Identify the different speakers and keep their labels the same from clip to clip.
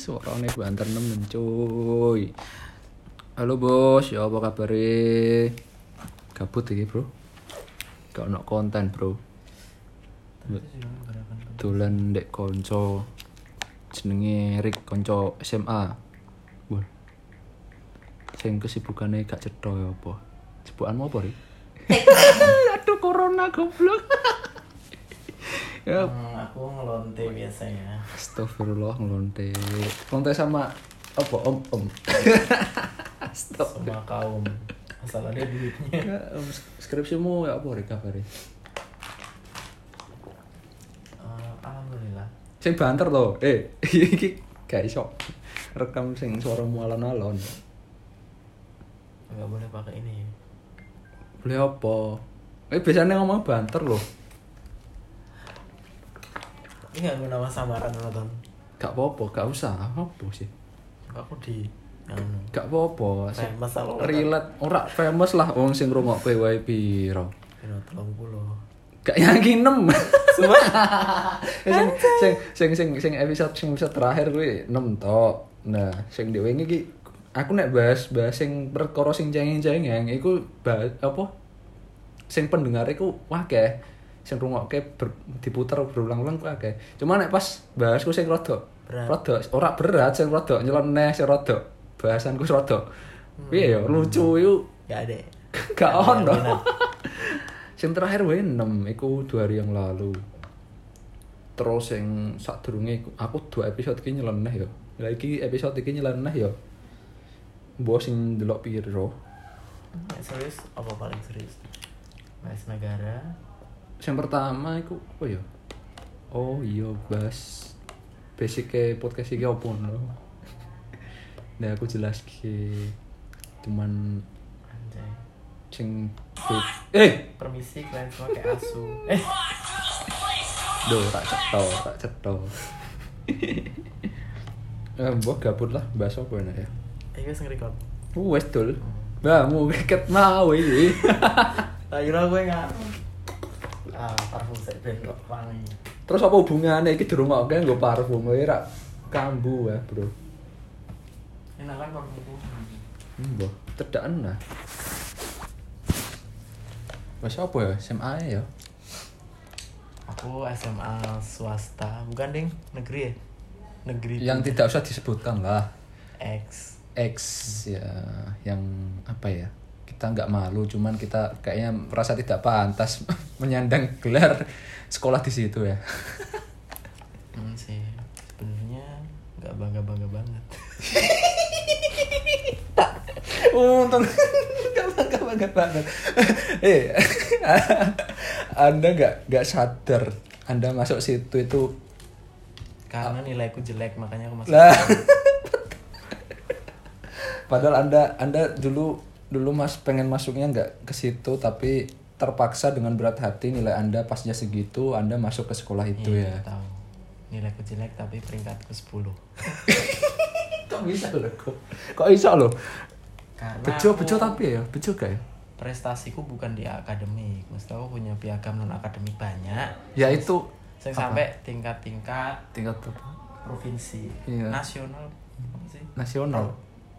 Speaker 1: Suarane banter nemen cuy. Halo bos, ya apa kabar Gabut iki, Bro. Gak ono konten, Bro. Dolan ndek konco jenenge Rick konco SMA. Wah. Sing kesibukane gak cetha ya apa? Jebukanmu apa, Rik? Aduh corona goblok. ya
Speaker 2: Hmm, aku ngelonte biasanya.
Speaker 1: Astagfirullah ngelonte. Ngelonte sama apa om om. Stop.
Speaker 2: Semua kaum. Masalahnya duitnya.
Speaker 1: Ya, em, skripsimu ya apa rek kabare?
Speaker 2: Eh, alhamdulillah.
Speaker 1: Sing banter to. Eh, iki gak iso rekam sing suaramu alon-alon.
Speaker 2: Gak boleh pakai ini.
Speaker 1: Boleh apa? Eh biasanya ngomong banter loh.
Speaker 2: Ini gak nama samaran nonton.
Speaker 1: Gak apa-apa, gak usah. Apa sih?
Speaker 2: Aku di anu.
Speaker 1: Gak apa-apa. sing
Speaker 2: Famous apa ora?
Speaker 1: Relate ora famous lah wong sing ngrungokke wae piro.
Speaker 2: Kira tolong puluh.
Speaker 1: Gak yakin nem. sing, sing sing sing sing episode sing episode terakhir kuwi 6 tok. Nah, sing dhewe iki ki aku nek bahas bahas sing perkara sing cengeng-cengeng iku bahas apa? Sing pendengar iku akeh. Sing rungokke ber- diputer berulang-ulang ku akeh. Cuma nek pas bahas ku sing rada
Speaker 2: Berat.
Speaker 1: rada ora berat sing rada nyeleneh sing rada bahasanku sing rada. Piye ya lucu iku
Speaker 2: Gak ada.
Speaker 1: Gak ono.
Speaker 2: Minat.
Speaker 1: sing terakhir wae 6 iku dua hari yang lalu. Terus sing sadurunge iku- aku dua episode iki nyeleneh ya. Lah iki episode iki nyeleneh ya. Mbok sing delok piro.
Speaker 2: Nggak serius apa paling serius? Mas Negara.
Speaker 1: Sing pertama iku oh ya. Oh iya bas basic podcast iki opo no. Nah aku jelas cuman
Speaker 2: Anjay.
Speaker 1: sing eh
Speaker 2: Permisi kalian semua kayak asu. Eh.
Speaker 1: Duh, tak ceto, tak ceto. Eh, mbok gabut lah, bahas apa enak ya?
Speaker 2: Ayo sing record.
Speaker 1: Uh, wes dul. Bah, mau keket mau iki.
Speaker 2: Tak kira gue nggak. Ah, parfum saya ben kok wangi.
Speaker 1: Terus apa hubungannya iki dirungokke nggo parfum wae ra kambu ya, Bro.
Speaker 2: Enak kan parfumku.
Speaker 1: Mbah, cedakan nah. Wes apa ya? SMA ya.
Speaker 2: Aku SMA swasta, bukan ding negeri ya? Negeri.
Speaker 1: Yang tidak usah disebutkan lah.
Speaker 2: X.
Speaker 1: X ya yang apa ya kita nggak malu cuman kita kayaknya merasa tidak pantas menyandang gelar sekolah di situ ya
Speaker 2: Hmm, sih. Sebenarnya nggak bangga bangga banget.
Speaker 1: untung nggak bangga bangga banget eh anda nggak nggak sadar anda masuk situ itu
Speaker 2: Karena nilaiku jelek, makanya aku masuk.
Speaker 1: Ah. lah Nah. padahal anda anda dulu dulu mas pengen masuknya nggak ke situ tapi terpaksa dengan berat hati nilai anda pasnya segitu anda masuk ke sekolah itu ya
Speaker 2: Iya, Tahu. Nilaiku jelek tapi peringkatku 10.
Speaker 1: kok bisa loh kok kok bisa loh
Speaker 2: Karena
Speaker 1: bejo
Speaker 2: aku-
Speaker 1: bejo tapi ya bejo gak ya
Speaker 2: prestasiku bukan di akademik. Mesti aku punya piagam non akademik banyak.
Speaker 1: ya itu
Speaker 2: Saya sampai tingkat-tingkat
Speaker 1: tingkat apa
Speaker 2: provinsi,
Speaker 1: Iya.
Speaker 2: nasional apa sih?
Speaker 1: nasional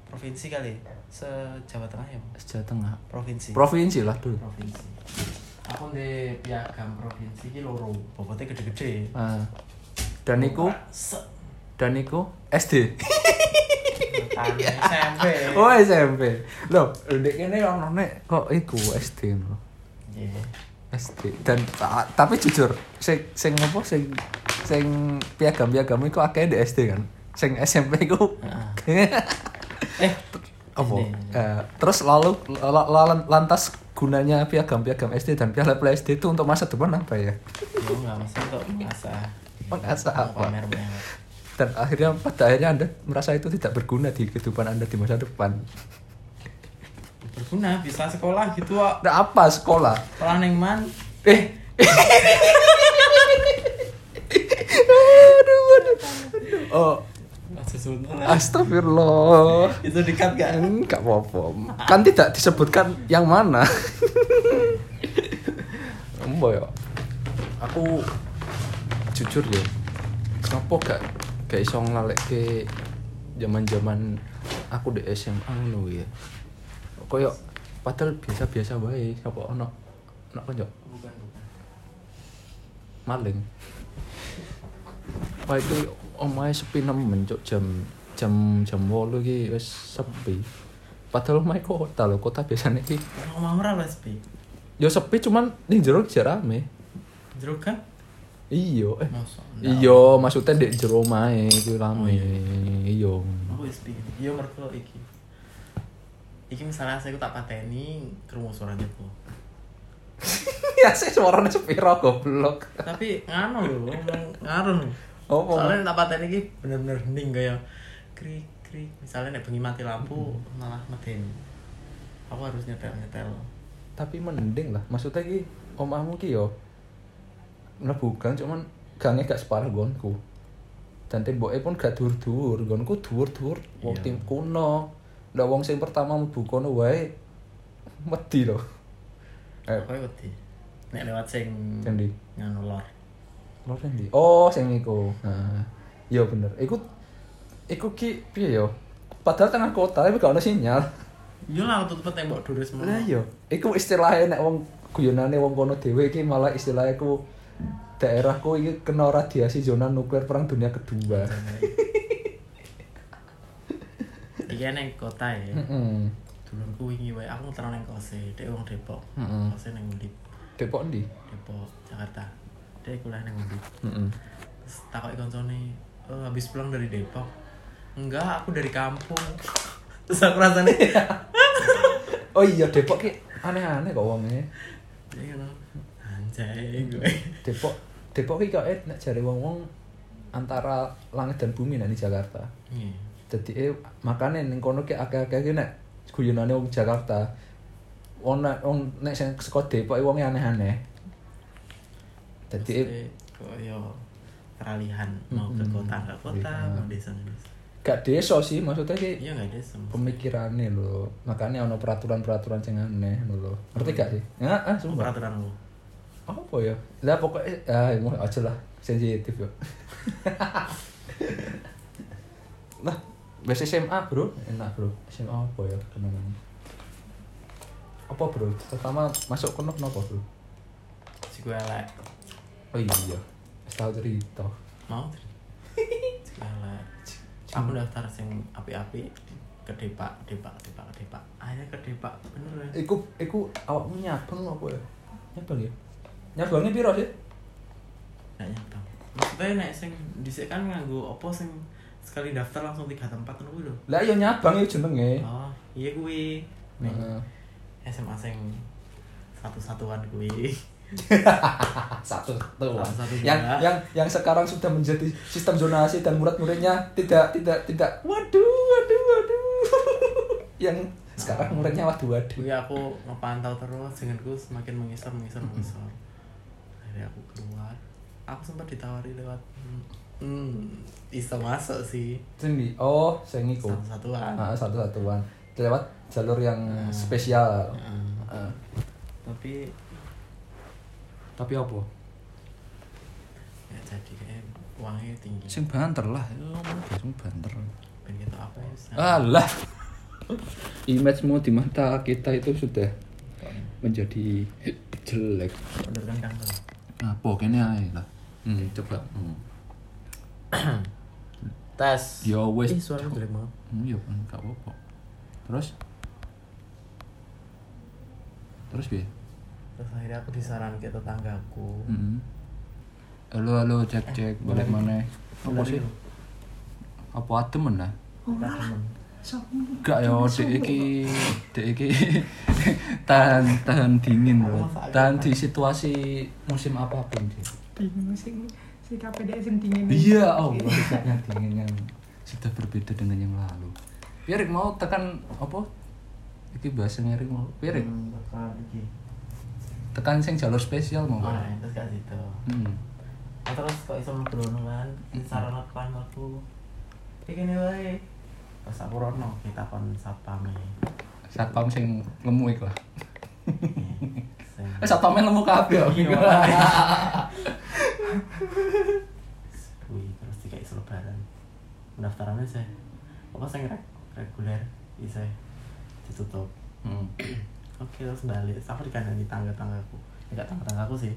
Speaker 2: Provinsi kali. Se Jawa Tengah ya, Bu?
Speaker 1: Jawa Tengah
Speaker 2: provinsi.
Speaker 1: Iya. provinsi lah dulu
Speaker 2: provinsi aku di piagam provinsi ini loro bobotnya gede-gede
Speaker 1: Ah. dan iku
Speaker 2: se
Speaker 1: dan iku SD
Speaker 2: tani SMP
Speaker 1: oh SMP loh dek ini orang nek kok iku SD loh
Speaker 2: Iya.
Speaker 1: SD dan ta- tapi jujur sing sing apa sing sing piagam piagam iku akeh di SD kan sing SMP iku
Speaker 2: eh
Speaker 1: apa
Speaker 2: Ini.
Speaker 1: Eh, terus lalu la- la- lantas gunanya piagam piagam SD dan piala piala SD itu untuk masa depan apa ya
Speaker 2: lu nggak mesti untuk masa
Speaker 1: merasa apa
Speaker 2: pamer banget
Speaker 1: dan akhirnya pada akhirnya anda merasa itu tidak berguna di kehidupan anda di masa depan
Speaker 2: berguna bisa sekolah gitu kok
Speaker 1: nah, apa sekolah
Speaker 2: pelan yang man
Speaker 1: eh aduh, aduh. oh astagfirullah
Speaker 2: itu dekat gak
Speaker 1: Enggak apa-apa. Kan tidak disebutkan yang mana. Embo ya. Aku jujur ya. Kenapa gak gak iso nglalekke zaman-zaman aku di SMA ngono ya. Koyo padahal biasa-biasa wae, sapa ono ono konjok
Speaker 2: bukan bukan
Speaker 1: maling. Wah itu omahe sepi nemen cuk jam jam jam 8 iki wis sepi. Padahal omahe kota lho, kota biasanya iki
Speaker 2: Emang omah ora lho sepi.
Speaker 1: yo sepi cuman ning jero jarame.
Speaker 2: Jeruk kan?
Speaker 1: Iyo eh.
Speaker 2: Masa?
Speaker 1: Iya, maksudnya di jero mae iku rame.
Speaker 2: Oh, iya.
Speaker 1: Iya.
Speaker 2: Aku wis sepi. Iya ngerti lho iki. Iki misalnya saya tak pateni krungu suara depo.
Speaker 1: Ya sih suarane sepiro goblok.
Speaker 2: Tapi ngano lho, ngomong ngarun.
Speaker 1: Opo?
Speaker 2: Soalnya tak pateni iki bener-bener hening kaya krik krik. Misalnya nek bengi mati lampu malah medeni. Aku harus nyetel-nyetel.
Speaker 1: Tapi mending lah, maksudnya ki omahmu ki yo mlebu gang cuman gange gak separah gonku. Dan temboknya pun gak dhuwur-dhuwur, gonku dhuwur-dhuwur wong
Speaker 2: Iya.
Speaker 1: tim kuno. Lah wong sing pertama mlebu kono wae wedi lho. Eh,
Speaker 2: Aku wedi. Nek lewat sing
Speaker 1: Sendi.
Speaker 2: nganu lor.
Speaker 1: Lor sing ndi? Oh, sing iku. Heeh. Iya bener. Iku iku ki piye yo? Padahal tengah kota tapi gak ono sinyal.
Speaker 2: Iya lah tutup tembok dulu semua.
Speaker 1: Lah yo, iku istilahnya nek wong guyonane wong kono dhewe iki malah istilahnya ku daerahku iki kena radiasi zona nuklir perang dunia kedua.
Speaker 2: Iki neng kota ya.
Speaker 1: Heeh.
Speaker 2: Dulurku wingi wae aku ngeterno neng kose, dhek wong Depok.
Speaker 1: Mm-mm.
Speaker 2: Kose neng Undip,
Speaker 1: Depok ndi?
Speaker 2: Depok, Jakarta. Dhek kuliah neng Undip.
Speaker 1: Heeh.
Speaker 2: Terus takoki koncone, "Eh, habis pulang dari Depok?" Enggak, aku dari kampung. Terus aku rasanya
Speaker 1: Oh iya Depok ki aneh-aneh kok wonge.
Speaker 2: Jadi ngono. "Ya Anjay gue.
Speaker 1: Depok Depok ki kok eh, nek jare wong-wong antara langit dan bumi nek di Jakarta.
Speaker 2: Iya.
Speaker 1: jadi eh makanya neng kono ki akeh-akeh ki nek guyonane wong Jakarta wong nek wong nek sing saka Depok wong aneh-aneh jadi eh,
Speaker 2: Terus, eh, koyo peralihan mau ke
Speaker 1: Mm-mm.
Speaker 2: kota ke kota,
Speaker 1: Iya.
Speaker 2: mau desa ke desa.
Speaker 1: gak desa sih maksudnya ki
Speaker 2: Iya enggak desa. maksudnya.
Speaker 1: pemikirannya lho makanya ono peraturan-peraturan sing aneh lho ngerti gak sih ya ah
Speaker 2: Apa
Speaker 1: sumpah
Speaker 2: peraturan lu.
Speaker 1: apa ya lah pokoknya ah mau aja lah sensitif yo nah wes SMA bro enak bro SMA apa ya kenangan apa bro pertama masuk kono kenapa bro
Speaker 2: Si gue elek.
Speaker 1: oh iya Wis tahu cerita
Speaker 2: Mau? Segala.
Speaker 1: Hmm.
Speaker 2: Aku daftar sing api-api ke Depak, Depak, Depak, ke Depak. Akhirnya ke Depak bener ya.
Speaker 1: iku iku awakmu nyabang apa ya nyabang ya nyabangnya piro sih
Speaker 2: Nggak nyata. Maksudnya nek sing dhisik kan nganggo opo sing sekali daftar langsung tiga tempat ngono kuwi lho.
Speaker 1: lah iya nyabang ya jenenge Nah.
Speaker 2: Oh, iya kuwi. Nih,
Speaker 1: Heeh.
Speaker 2: SMA sing satu-satuan kuwi.
Speaker 1: Ah, satu satu
Speaker 2: Satu-satu
Speaker 1: yang
Speaker 2: juga.
Speaker 1: yang yang sekarang sudah menjadi sistem zonasi dan murid-muridnya tidak tidak tidak waduh waduh waduh yang sekarang muridnya waduh waduh
Speaker 2: Kuwi aku ngepantau terus jenengku semakin mengisor, mengisor, mengisor. Akhirnya aku keluar. Aku sempat ditawari lewat hmm, iso masuk sih.
Speaker 1: Sini. oh saya ngikut
Speaker 2: satu-satuan
Speaker 1: ah, satu satuan lewat jalur yang spesial
Speaker 2: Heeh.
Speaker 1: Ah.
Speaker 2: tapi
Speaker 1: tapi apa
Speaker 2: ya jadi kayak uangnya tinggi
Speaker 1: sing banter lah Ya, sing banter
Speaker 2: ben kita apa ya
Speaker 1: Ah.
Speaker 2: Sna?
Speaker 1: alah image-mu di mata kita itu sudah menjadi jelek
Speaker 2: order kentang tuh
Speaker 1: Nah, pokoknya ae lah. Hmm, coba. Hmm.
Speaker 2: tes
Speaker 1: Ya wes.
Speaker 2: ih suara jelek banget
Speaker 1: Hmm, ya kan gak apa-apa. Terus? Terus piye?
Speaker 2: terus akhirnya aku disaran ke tetanggaku
Speaker 1: Heeh. Hmm. Halo halo cek cek balik mana? Apa sih? Apa adem nah?
Speaker 2: Ora temen.
Speaker 1: Enggak ya, dek iki dek iki tahan tahan dingin bro. Tahan di situasi musim apapun dia.
Speaker 3: dingin sing si KPD sing dingin
Speaker 1: Iya, oh, sikapnya dingin yang sudah berbeda dengan yang lalu. Pirik mau tekan apa? Iki bahasanya Erik mau. Pirik
Speaker 2: Hmm, tekan iki
Speaker 1: tekan sing jalur spesial mau.
Speaker 2: oh
Speaker 1: Pak.
Speaker 2: nah, terus gak situ
Speaker 1: Hmm.
Speaker 2: Nah, terus kok iso mlebu rono kan disaran aku kan aku iki ne wae terus aku rono kita kon satpame
Speaker 1: Satpam sing lemu iku lah.
Speaker 2: Sing-
Speaker 1: Eh satpamnya lemu kabeh. gitu.
Speaker 2: Iya, makanya. Wih, terus dikasih selebaran pendaftarannya saya apa saya ngerek reguler iya saya ditutup
Speaker 4: Hmm.
Speaker 2: oke terus balik kan aku dikandani tangga tanggaku enggak tangga tanggaku Ya, sih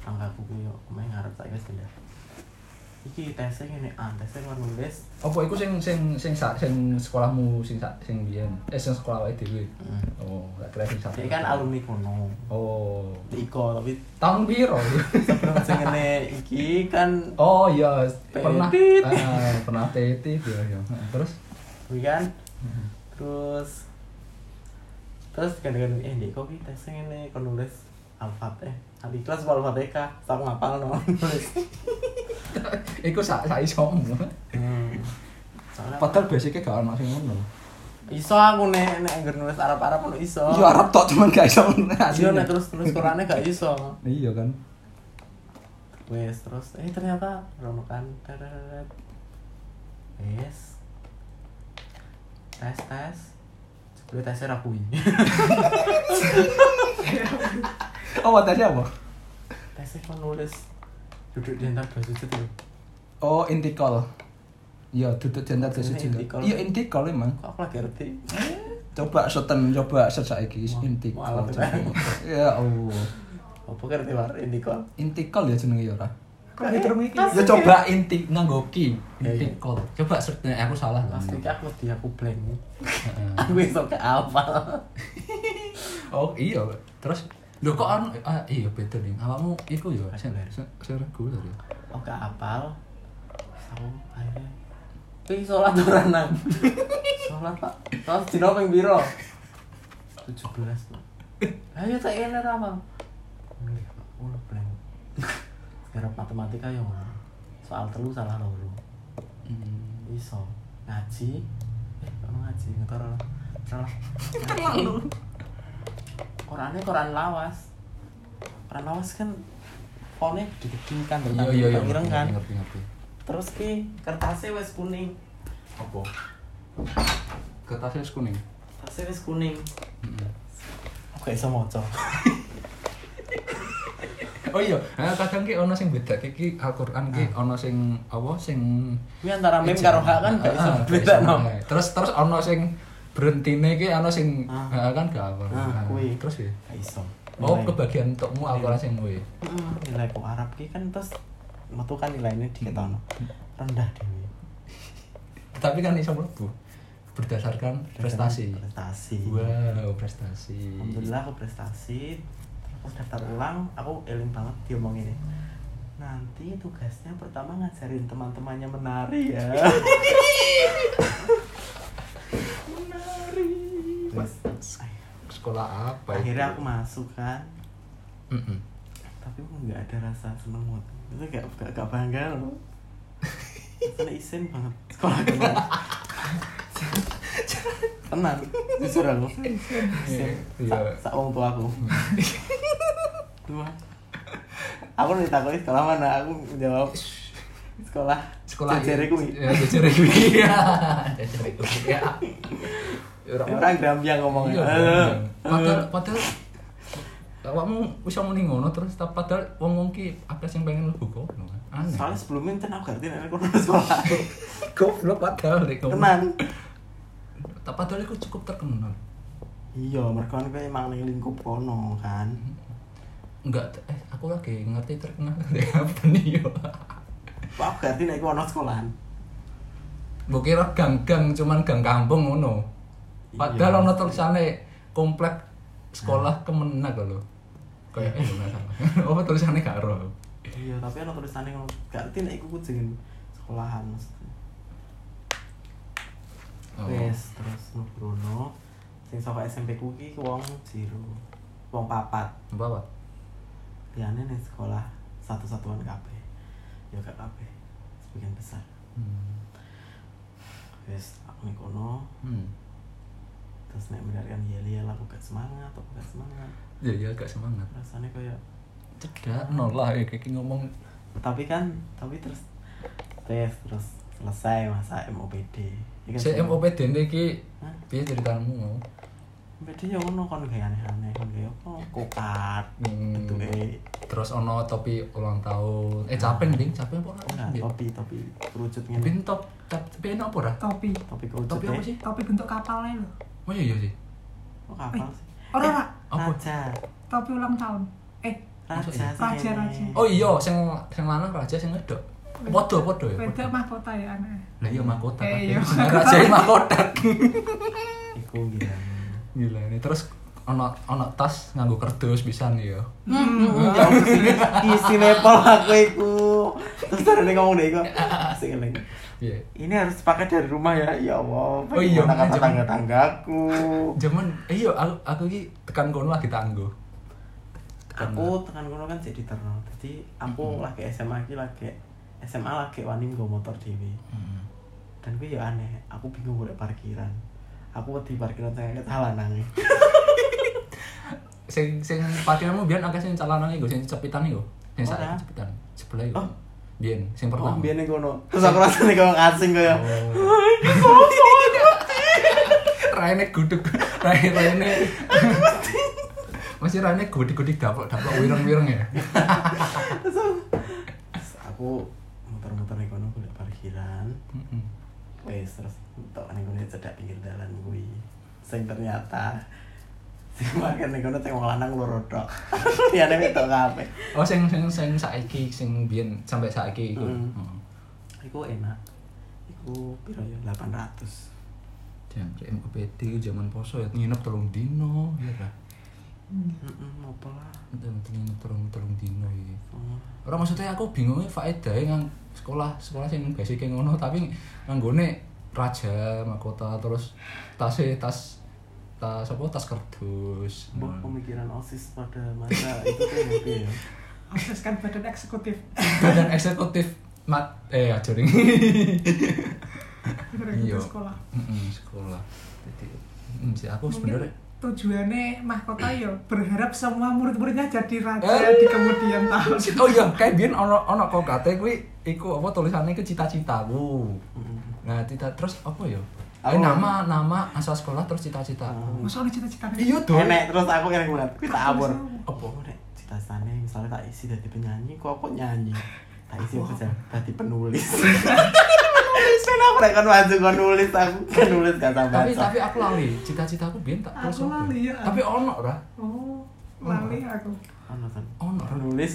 Speaker 2: tanggaku ku yo main ngarep tak guys bener iki tesnya ini ah tesnya luar nulis
Speaker 1: Apa iku sing sing sing sa- sing sekolahmu sing sa- sing biyen? Eh sing sekolah awake dhewe.
Speaker 2: Hmm.
Speaker 1: Oh, gak kira sing satu.
Speaker 2: dia kan alumni kuno
Speaker 1: Oh.
Speaker 2: Iko tapi
Speaker 1: Tahun piro?
Speaker 2: sebelum sengene iki kan
Speaker 1: oh iya, pernah.
Speaker 2: Petit.
Speaker 1: Ah, pernah tetit ya ya. Terus
Speaker 2: Kuwi kan terus terus kadang-kadang eh dek kok kita sing ini kau nulis alfabet eh al ikhlas apa alfabet kah aku ngapal no nulis
Speaker 1: iku sak sak isomu.
Speaker 2: hmm. Soalnya aku-
Speaker 1: Padahal basicnya gak ono sing ngono.
Speaker 2: iso aku nek nek ngger nulis arab arab pun iso
Speaker 1: Yo Arab tok cuman gak iso
Speaker 2: iya
Speaker 1: aslinya.
Speaker 2: nek terus nulis Qurannya gak iso
Speaker 1: Iya kan.
Speaker 2: wes terus eh ternyata rono kan teret wes tes tes sebelum tesnya rakui
Speaker 1: Oh, tadi apa?
Speaker 2: tesnya kau nulis duduk di gitu antara dua sujud lho.
Speaker 1: Oh, intikal. Iya, duduk jentar desa
Speaker 2: Maksudnya
Speaker 1: jentar.
Speaker 2: intikal.
Speaker 1: Iya, intikal emang.
Speaker 2: kok aku lagi ngerti
Speaker 1: Coba seten, coba search saiki
Speaker 2: Wah,
Speaker 1: intikal.
Speaker 2: mualaf ya.
Speaker 1: Ya Allah.
Speaker 2: apa ngerti war indiko
Speaker 1: Intikal ya jenenge ya ora.
Speaker 5: Kok
Speaker 1: Eh,
Speaker 5: diterung iki?
Speaker 1: Ya coba inti nganggo ki.
Speaker 2: Ya, iya.
Speaker 1: Intikal. Coba search nek aku salah kan.
Speaker 2: pasti aku dia aku blank aku iso ke apa
Speaker 1: Oh, iya. Terus Lho kok anu ah, iya beda nih. Awakmu iku ya sing sing sing reguler ya.
Speaker 2: aku ke Oh, apal sama akhirnya tapi sholat orang nang sholat pak terus dino ping biro tujuh belas pak ayo iya, tak ini apa Nggih, Pak. Ngono blank sekarang matematika yang soal telu salah loro
Speaker 1: Hmm.
Speaker 2: iso ngaji eh kok ngaji ngetor lah terlalu korannya koran lawas koran lawas kan fontnya gede-gede kan
Speaker 1: Iya iya iya.
Speaker 2: ireng kan
Speaker 1: Ngerti ngerti.
Speaker 2: terus ki kertasnya wes kuning
Speaker 1: Apa? Kertasnya wis kuning.
Speaker 2: kertasnya wes kuning
Speaker 1: Heeh.
Speaker 2: oke iso moco
Speaker 1: Oh iya, nah, kadang ki ono sing beda ki Al-Qur'an ki ono sing apa sing
Speaker 2: ini antara meme karo hak kan gak iso
Speaker 1: Ah, ah,
Speaker 2: beda
Speaker 1: iso.
Speaker 2: no
Speaker 1: Terus terus ono sing berhentine ki ono sing ah,
Speaker 2: Ah.
Speaker 1: kan gak apa. Ah,
Speaker 2: Ah,
Speaker 1: Iya.
Speaker 2: kui.
Speaker 1: Terus ya.
Speaker 2: gak iso
Speaker 1: Oh,
Speaker 2: Nilai-
Speaker 1: kebagian untukmu Al-Qur'an sing kuwi.
Speaker 2: Mm, nilai ku Arab ki kan terus metu kan nilainya diketono rendah dewi
Speaker 1: Tapi kan iso mlebu berdasarkan prestasi.
Speaker 2: prestasi
Speaker 1: Wow, prestasi.
Speaker 2: Alhamdulillah aku prestasi Terus daftar ulang, aku eling banget diomong ini Nanti tugasnya pertama ngajarin teman-temannya menari ya Menari Mas,
Speaker 1: Sekolah apa itu?
Speaker 2: Akhirnya aku masuk kan
Speaker 1: Mm-mm.
Speaker 2: Tapi aku nggak ada rasa seneng banget Itu gak, gak, gak bangga loh Rasanya isin banget Sekolah kemarin Tenang, jujur aku Isin,
Speaker 1: Iya.
Speaker 2: Sa- sak wong tua aku dua aku ditakoni sekolah mana aku jawab sekolah
Speaker 1: Sekolah
Speaker 2: jere kuwi
Speaker 1: Ya, jejere kuwi. Iya, Jejere kuwi. Ya. Ora
Speaker 2: orang grambiang ngomongnya
Speaker 1: Iya,
Speaker 2: Eh,
Speaker 1: Padahal padahal awakmu bisa muni ngono terus tapi padahal wong wong ki akeh sing pengen mlebu kono. kan. Aneh.
Speaker 2: soalnya sebelumnya kan aku ngerti nek aku nang sekolah
Speaker 1: goblok padahal nek kono.
Speaker 2: tenan
Speaker 1: Tapi padahal iku cukup terkenal.
Speaker 2: iya mergo aku emang ning lingkup kono kan
Speaker 1: Enggak eh aku lagi ngerti terkenal dari apa nih yo.
Speaker 2: aku ngerti nek aku ono sekolahan
Speaker 1: Mbok kira gang-gang cuman gang kampung ngono. Padahal
Speaker 2: Iya.
Speaker 1: ono tulisane komplek sekolah kemenang lho. Kayak eh bener salah. Apa tulisannya gak ero.
Speaker 2: iya tapi ono tulisannya ngono gak ngerti nek aku jeneng sekolahan maksudnya
Speaker 1: Oh.
Speaker 2: Wes, terus Nugrono sing saka SMP ku ki wong jero. Wong papat.
Speaker 1: Bapak.
Speaker 2: Liyane ning sekolah satu-satuan kabeh. Ya gak kabeh. Sebagian besar.
Speaker 1: Hmm.
Speaker 2: Wes, aku ning kono
Speaker 1: Hmm.
Speaker 2: terus nek mendengarkan yel-yel aku gak semangat, aku gak semangat.
Speaker 1: Ya ya agak semangat.
Speaker 2: Rasanya kayak
Speaker 1: cedak nolah ya kayak ngomong
Speaker 2: tapi kan tapi terus tes terus selesai masa MOPD. Ya kan,
Speaker 1: saya
Speaker 2: semua-
Speaker 1: MOPD ini ki
Speaker 2: Hah?
Speaker 1: dia ceritamu
Speaker 2: Beda ya ono kon gaya aneh-aneh kon gaya apa? Kokat.
Speaker 1: Hmm.
Speaker 2: Bentuke
Speaker 1: Terus ono topi ulang tahun. Eh capeng ding, capeng apa ora?
Speaker 2: enggak topi topi kerucut
Speaker 1: Bin
Speaker 2: ngene.
Speaker 1: top, cap- tapi enak apa ora?
Speaker 3: topi
Speaker 2: Topi kerucut.
Speaker 1: Topi apa
Speaker 2: eh.
Speaker 1: sih?
Speaker 3: topi bentuk kapalnya loh
Speaker 1: Oh iya iya sih.
Speaker 2: Kok kapal
Speaker 3: Eh.
Speaker 2: sih?
Speaker 3: ora ora
Speaker 1: Apa?
Speaker 2: Raja.
Speaker 3: topi ulang tahun eh
Speaker 1: Masuk ya?
Speaker 2: Raja. sih,
Speaker 3: Raja,
Speaker 2: ini.
Speaker 3: raja.
Speaker 1: Oh iya, sing sing lanang raja sing wedok. Podo podo ya.
Speaker 3: beda
Speaker 1: podo.
Speaker 3: mahkota ya aneh
Speaker 1: Lah iya mahkota.
Speaker 3: Eh,
Speaker 1: tapi
Speaker 3: iya.
Speaker 1: Raja ini mahkota.
Speaker 2: Iku gila.
Speaker 1: Gila ini terus ono ono tas nganggo kerdus pisan ya.
Speaker 2: Isi nepal aku iku. Terus tarane ngomong deh iku. Sing eling.
Speaker 1: Iya.
Speaker 2: Ini harus pakai dari rumah ya. Ya Allah.
Speaker 1: Oh iya,
Speaker 2: kata
Speaker 1: jangan.
Speaker 2: tangga tanggaku.
Speaker 1: Jaman eh iya aku aku iki tekan kono lagi tanggo.
Speaker 2: aku tekan kono kan jadi terno. Jadi aku lagi SMA iki lagi SMA lagi wani nggo motor dhewe.
Speaker 1: Hmm.
Speaker 2: Dan gue ya aneh, aku bingung golek parkiran. Aku di parkiran saya ketalan nangis.
Speaker 1: Sing sing pacarmu biyen akeh sing calanang iku sing cepitan iku. Sing sak
Speaker 2: Ora.
Speaker 1: cepitan. Sebelah iku.
Speaker 2: Oh.
Speaker 1: Biyen sing
Speaker 2: Oh,
Speaker 1: pertama.
Speaker 2: biyen kono. Terus aku rasane kok asing kaya.
Speaker 1: Oh. Raine gudeg, raine raine. Masih raine gudeg-gudeg daplok-daplok wireng-wireng ya.
Speaker 2: Terus aku- terus aku muter-muter ning kono golek parkiran.
Speaker 1: Mm-mm.
Speaker 2: Wes terus tok ning kono cedak pinggir dalan kuwi. Sing ternyata sing makan ning kono sing wong lanang loro tok. Liyane wedok kabeh.
Speaker 1: Oh, sing sing sing saiki sing biyen sampai saiki iku.
Speaker 2: Mm.
Speaker 1: Heeh.
Speaker 2: Iku enak. Iku piro ya 800.
Speaker 1: Jangkrik MKPD zaman poso ya nginep telung dino ya ta.
Speaker 2: Heeh, opo lah.
Speaker 1: Nginep telung telung dino iki.
Speaker 2: Oh.
Speaker 1: Ora maksudnya aku bingungnya faedahe nang sekolah sekolah sing basic e ngono tapi nganggone raja mahkota terus tasnya tas tas apa tas kerdus.
Speaker 2: Mbah pemikiran OSIS pada masa itu tuh ngerti ya.
Speaker 3: akses kan badan eksekutif
Speaker 1: Badan eksekutif mat eh ajarin. Iya.
Speaker 3: Itu sekolah
Speaker 1: Mm-mm, sekolah. Jadi mm, sih aku
Speaker 3: mungkin
Speaker 1: sebenarnya
Speaker 3: tujuannya mahkota ya berharap semua murid-muridnya jadi raja
Speaker 1: Alah.
Speaker 3: di kemudian tahun
Speaker 1: Oh iya, kayak biyen ono ono kok kate kuwi iku apa tulisannya ke cita-citaku.
Speaker 2: Mm-mm.
Speaker 1: Nah, cita terus apa ya?
Speaker 2: Apa?
Speaker 1: Eh, nama nama asal sekolah terus cita-citaku.
Speaker 2: Oh.
Speaker 3: Masa ada cita-cita
Speaker 1: Iya tuh.
Speaker 2: Enek terus aku yang ngeliat, kita abur.
Speaker 1: Apa?
Speaker 2: Apa nek cita-citane misalnya tak isi dadi penyanyi, kok aku nyanyi. Tak isi apa jan dadi penulis. Sen aku rek kon maju kon nulis aku kan nulis gak tambah.
Speaker 1: Tapi tapi aku lali, cita-citaku biyen tak terus.
Speaker 3: Aku
Speaker 1: apa?
Speaker 3: lali, ya.
Speaker 1: Tapi ono ora?
Speaker 3: oh lali aku
Speaker 2: ono kan.
Speaker 1: Ono ora?
Speaker 2: Penulis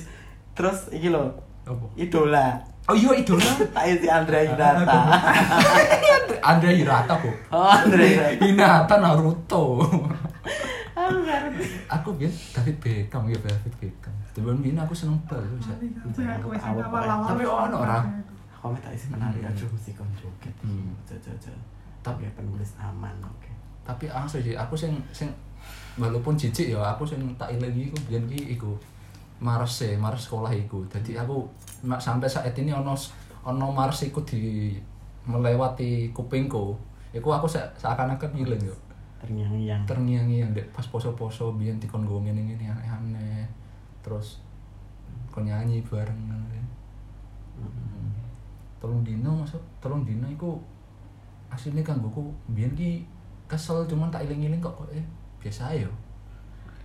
Speaker 2: terus iki lho,
Speaker 1: Apa?
Speaker 2: idola.
Speaker 1: Oh iya idola.
Speaker 2: Tak isi Andra Hinata.
Speaker 1: Andra Hirata kok.
Speaker 2: Oh, Andra Hirata.
Speaker 1: Hinata Naruto.
Speaker 2: Aku gak ngerti.
Speaker 1: aku biyen David Beckham ya David Beckham. Cuman biyen aku seneng bal bisa.
Speaker 3: lali aku aku masih awal-awal
Speaker 1: Tapi oh, ono ora?
Speaker 2: Aku ame tak isi penari
Speaker 1: Hmm.
Speaker 2: aduh mesti kon joget.
Speaker 1: Hmm.
Speaker 2: Jojo-jojo.
Speaker 1: Tapi-
Speaker 2: Tapi ya penulis aman oke.
Speaker 1: tapi asli sih aku sing sing walaupun jijik ya aku sing tak ilangi iku biyen ki iku Mars sih Mars sekolah iku jadi aku ma- sampai saat ini ono s- ono Mars iku di melewati kupingku iku aku se seakan-akan ngiling yo
Speaker 2: Terngiang-ngiang.
Speaker 1: terngiang-ngiang dek pas poso-poso biyen dikon nggo ngene ngene aneh-aneh terus kon nyanyi bareng kan.
Speaker 2: Mm-mm.
Speaker 1: telung dino masuk telung dino iku aslinya kanggoku biyen ki kesel cuman tak iling-iling kok kok eh biasa ae yo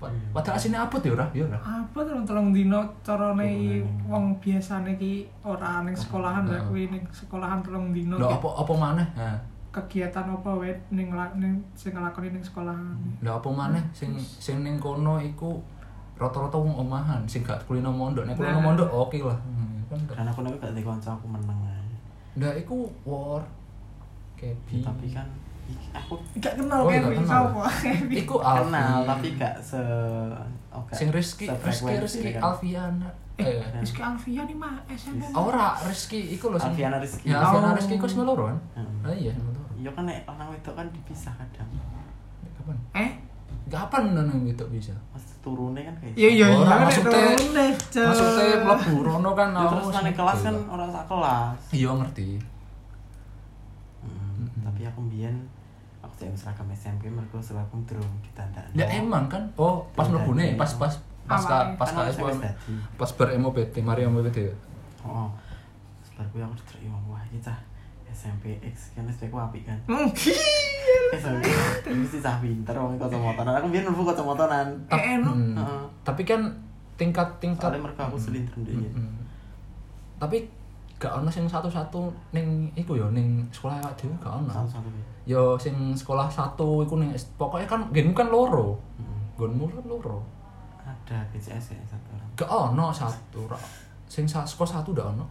Speaker 1: Pa-
Speaker 2: Iya.
Speaker 1: padahal aslinya abot ya ora ya ora
Speaker 3: apa tolong tolong dino carane
Speaker 2: Turunane.
Speaker 3: wong biasane ki ora ning sekolahan lek kuwi ning sekolahan tolong dino
Speaker 1: lho
Speaker 3: ki
Speaker 1: Nah. apa apa maneh ha
Speaker 3: kegiatan apa wae ning la- ning sing nglakoni ning sekolahan
Speaker 1: lho apa maneh sing sing ning kono iku rata-rata wong omahan sing gak kulino mondok nek kulino
Speaker 3: Nah.
Speaker 1: mondok oke lah Hmm, kan gak-
Speaker 2: Dan aku nek gak dikonco aku meneng aja.
Speaker 1: ndak iku war kebi
Speaker 2: Tapi kan iki- aku
Speaker 3: gak kenal
Speaker 1: Oh,
Speaker 3: kan
Speaker 1: gak
Speaker 3: iki
Speaker 1: kenal.
Speaker 3: sapa
Speaker 1: iku Alfi
Speaker 2: kenal tapi gak se oh, gak
Speaker 1: sing Rizky Rizky
Speaker 2: sefrekuensi
Speaker 1: Rizky
Speaker 2: kan.
Speaker 1: Alfiana eh Oh,
Speaker 3: Rizky Alfian iki mah SMA
Speaker 1: ora Rizky iku lho sing-
Speaker 2: Alfiana Rizky.
Speaker 1: ya Alfiana
Speaker 3: Oh.
Speaker 1: Rizky iku sing loro kan
Speaker 2: Hmm.
Speaker 1: Ah iya, sama Toro.
Speaker 2: Iya kan nek orang wedok kan dipisah kadang.
Speaker 1: Kapan?
Speaker 3: eh
Speaker 1: Kapan nang itu bisa?
Speaker 2: Mas turune kan kayak.
Speaker 3: iya iya iya
Speaker 1: Oh, Ora,
Speaker 3: nek
Speaker 1: maksudnya-
Speaker 3: turun deh, Cuk.
Speaker 1: Maksudnya mlebu rono kan
Speaker 2: Ya, terus
Speaker 1: aku
Speaker 2: kan nek
Speaker 1: sempet
Speaker 2: kelas kan
Speaker 1: lah.
Speaker 2: orang sak kelas.
Speaker 1: Iya ngerti.
Speaker 2: Hmm,
Speaker 1: Mm-hmm.
Speaker 2: Tapi aku mbiyen aku sing seragam SMP mergo seragam durung ditandani.
Speaker 1: Ya emang kan. Oh, pas
Speaker 2: Iya,
Speaker 1: mlebune,
Speaker 2: iya.
Speaker 1: pas pas pas ka,
Speaker 3: Awalnya.
Speaker 1: pas
Speaker 2: Kan
Speaker 1: ka
Speaker 2: awalnya
Speaker 1: SPM.
Speaker 2: saya wis dadi.
Speaker 1: Pas ber MOPT, mari MOPT.
Speaker 2: Oh. ya Terus bar kuwi aku diterima wah iki cah SMP X kan SPM ku apik kan.
Speaker 3: Hmm,
Speaker 2: Ini sih sah pinter wong kacamataan. Aku biyen mlebu kacamataan.
Speaker 3: Eh, enak.
Speaker 1: Hmm.
Speaker 2: Heeh.
Speaker 1: Tapi kan tingkat-tingkat
Speaker 2: Soalnya mereka aku ya. selintren dhewe.
Speaker 1: Mm. Tapi gak ono sing satu-satu ning iku ya ning sekolah awak dhewe gak ono.
Speaker 2: Satu-satu.
Speaker 1: Ya sing sekolah satu iku ning pokoknya kan genmu kan loro. Gonmu kan loro.
Speaker 2: Ada BCS ya satu orang.
Speaker 1: Gak ono satu. Ra. Sing sa- sekolah satu gak ono.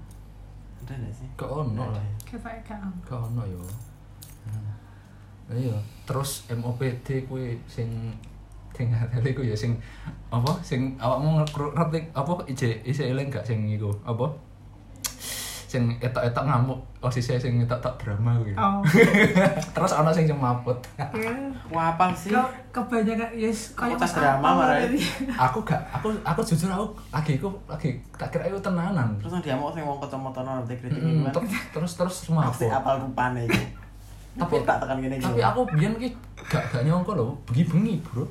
Speaker 2: Ada enggak sih?
Speaker 1: Gak ono lah.
Speaker 3: Kita ikan.
Speaker 1: Gak ono yo. Nah. Iya, terus MOPD kuwi sing sing ngateli ku ya sing apa sing awakmu ngerti ngerti apa IJ IJ eling gak sing iku apa sing etok-etok ngamuk osise sing etok-etok drama kuwi.
Speaker 3: Oh.
Speaker 1: terus ana sing sing mabut.
Speaker 3: Ya.
Speaker 2: Wah, apa sih?
Speaker 3: Kau kebanyakan yes
Speaker 2: Aku
Speaker 3: kayak
Speaker 2: tas
Speaker 3: Mas
Speaker 2: drama,
Speaker 3: Apal
Speaker 2: Marai.
Speaker 3: tadi.
Speaker 1: aku gak aku aku jujur aku lagi iku lagi tak kira iku tenanan.
Speaker 2: Terus nang diamuk sing wong kacamataan ora ngerti kritik
Speaker 1: Mm,
Speaker 2: iku kan.
Speaker 1: ter- terus terus
Speaker 2: Pasti
Speaker 1: mabut.
Speaker 2: apal rupane iki. Tapi
Speaker 1: Tapi-
Speaker 2: tak tekan gini
Speaker 1: Tapi aku biyen ki gak gak nyangka lho, bengi-bengi, Bro.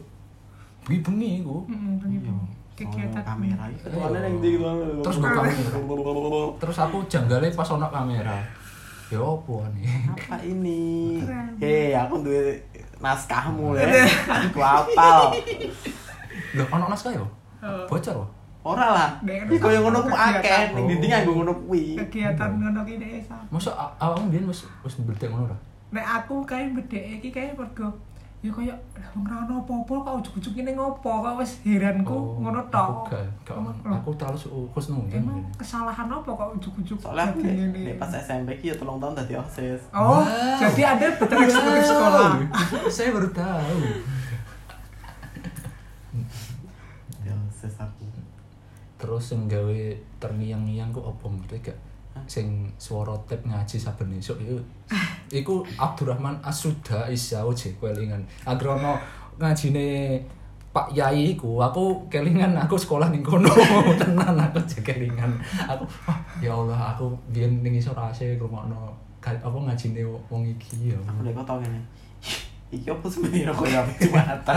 Speaker 1: Bengi-bengi iku.
Speaker 3: Mm-mm, begitu. Kegiatan.
Speaker 2: kegiatan kamera iki.
Speaker 1: Iya.
Speaker 2: Ketuane ning ndi gitu.
Speaker 1: Terus gue kamera. Terus aku janggalnya pas ono kamera. Ya opo nih.
Speaker 2: apa ini?
Speaker 3: Keren.
Speaker 2: Hei, aku duwe naskahmu ya. Aku apal.
Speaker 1: Lho ono naskah yo?
Speaker 3: Oh.
Speaker 1: Bocor loh.
Speaker 2: Ora lah.
Speaker 3: Dengan
Speaker 2: Iki koyo ngono ku
Speaker 3: kegiatan.
Speaker 2: akeh ning dinding nganggo ngono kuwi.
Speaker 3: Kegiatan
Speaker 1: Iya.
Speaker 3: ngono ki deh Sam.
Speaker 1: Masa a- awakmu biyen wis wis mbedek ngono ora?
Speaker 3: Nek aku kayak bedek iki kayak mergo ya kaya lah wong ra ono apa-apa kok ujug-ujug ngene ngopo kok wis heranku
Speaker 1: Oh,
Speaker 3: ngono
Speaker 1: Aku
Speaker 3: tok.
Speaker 1: gak gak ono.
Speaker 3: Ngono.
Speaker 1: Aku terlalu su- khusnul. kan,
Speaker 3: Emang
Speaker 1: biyen.
Speaker 3: kesalahan apa kok ujug-ujug
Speaker 2: Soalnya aku
Speaker 3: jadi
Speaker 2: nek-
Speaker 3: ngene?
Speaker 2: nek pas SMP ki ya telung tahun dadi OSIS.
Speaker 1: Wow.
Speaker 3: Oh, jadi ada betul eksekutif sekolah.
Speaker 1: Wow, Saya baru tahu.
Speaker 2: Ya OSIS aku.
Speaker 1: Terus sing gawe terngiang-ngiang ku opo ngerti gak? sing swara tip ngaji saben esuk iku iku Abdurrahman Asuda Isau Jekwelingan agrono ngajine Pak Yai iku aku kelingan aku sekolah ning kono tenan aku jekelingan aku "Wah, ya Allah aku biyen ning isor ase ngrungokno ga- apa ngajine wong iki ya
Speaker 2: Aku lek kok tau ngene. Iki opo sebenarnya kok ya jumatan.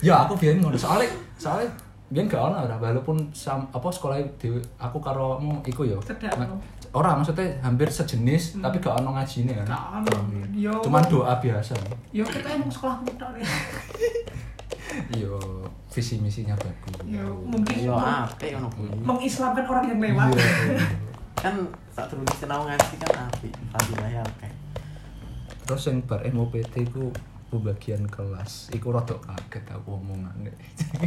Speaker 1: ya aku biyen ngono soalnya soalnya biyen gak ono ora walaupun sam, apa sekolah dhewe aku karo mu iku ya
Speaker 3: Cedak, no?
Speaker 1: ora maksudnya hampir sejenis tapi gak ono ngajine kan
Speaker 3: Gak ono. Ya, Yo.
Speaker 1: cuman doa biasa
Speaker 3: Yo kita emang sekolah tok deh.
Speaker 1: yo Iya, visi misinya bagus
Speaker 3: Yo mungkin
Speaker 2: Ya
Speaker 3: meng-
Speaker 2: apik ngono kuwi.
Speaker 3: mengislamkan orang yang lewat.
Speaker 1: Iya,
Speaker 2: Kan saat dulu sinau ngaji kan apik. Fadilah ya oke.
Speaker 1: terus yang bar MOPT ku pembagian kelas iku rada kaget aku omongannya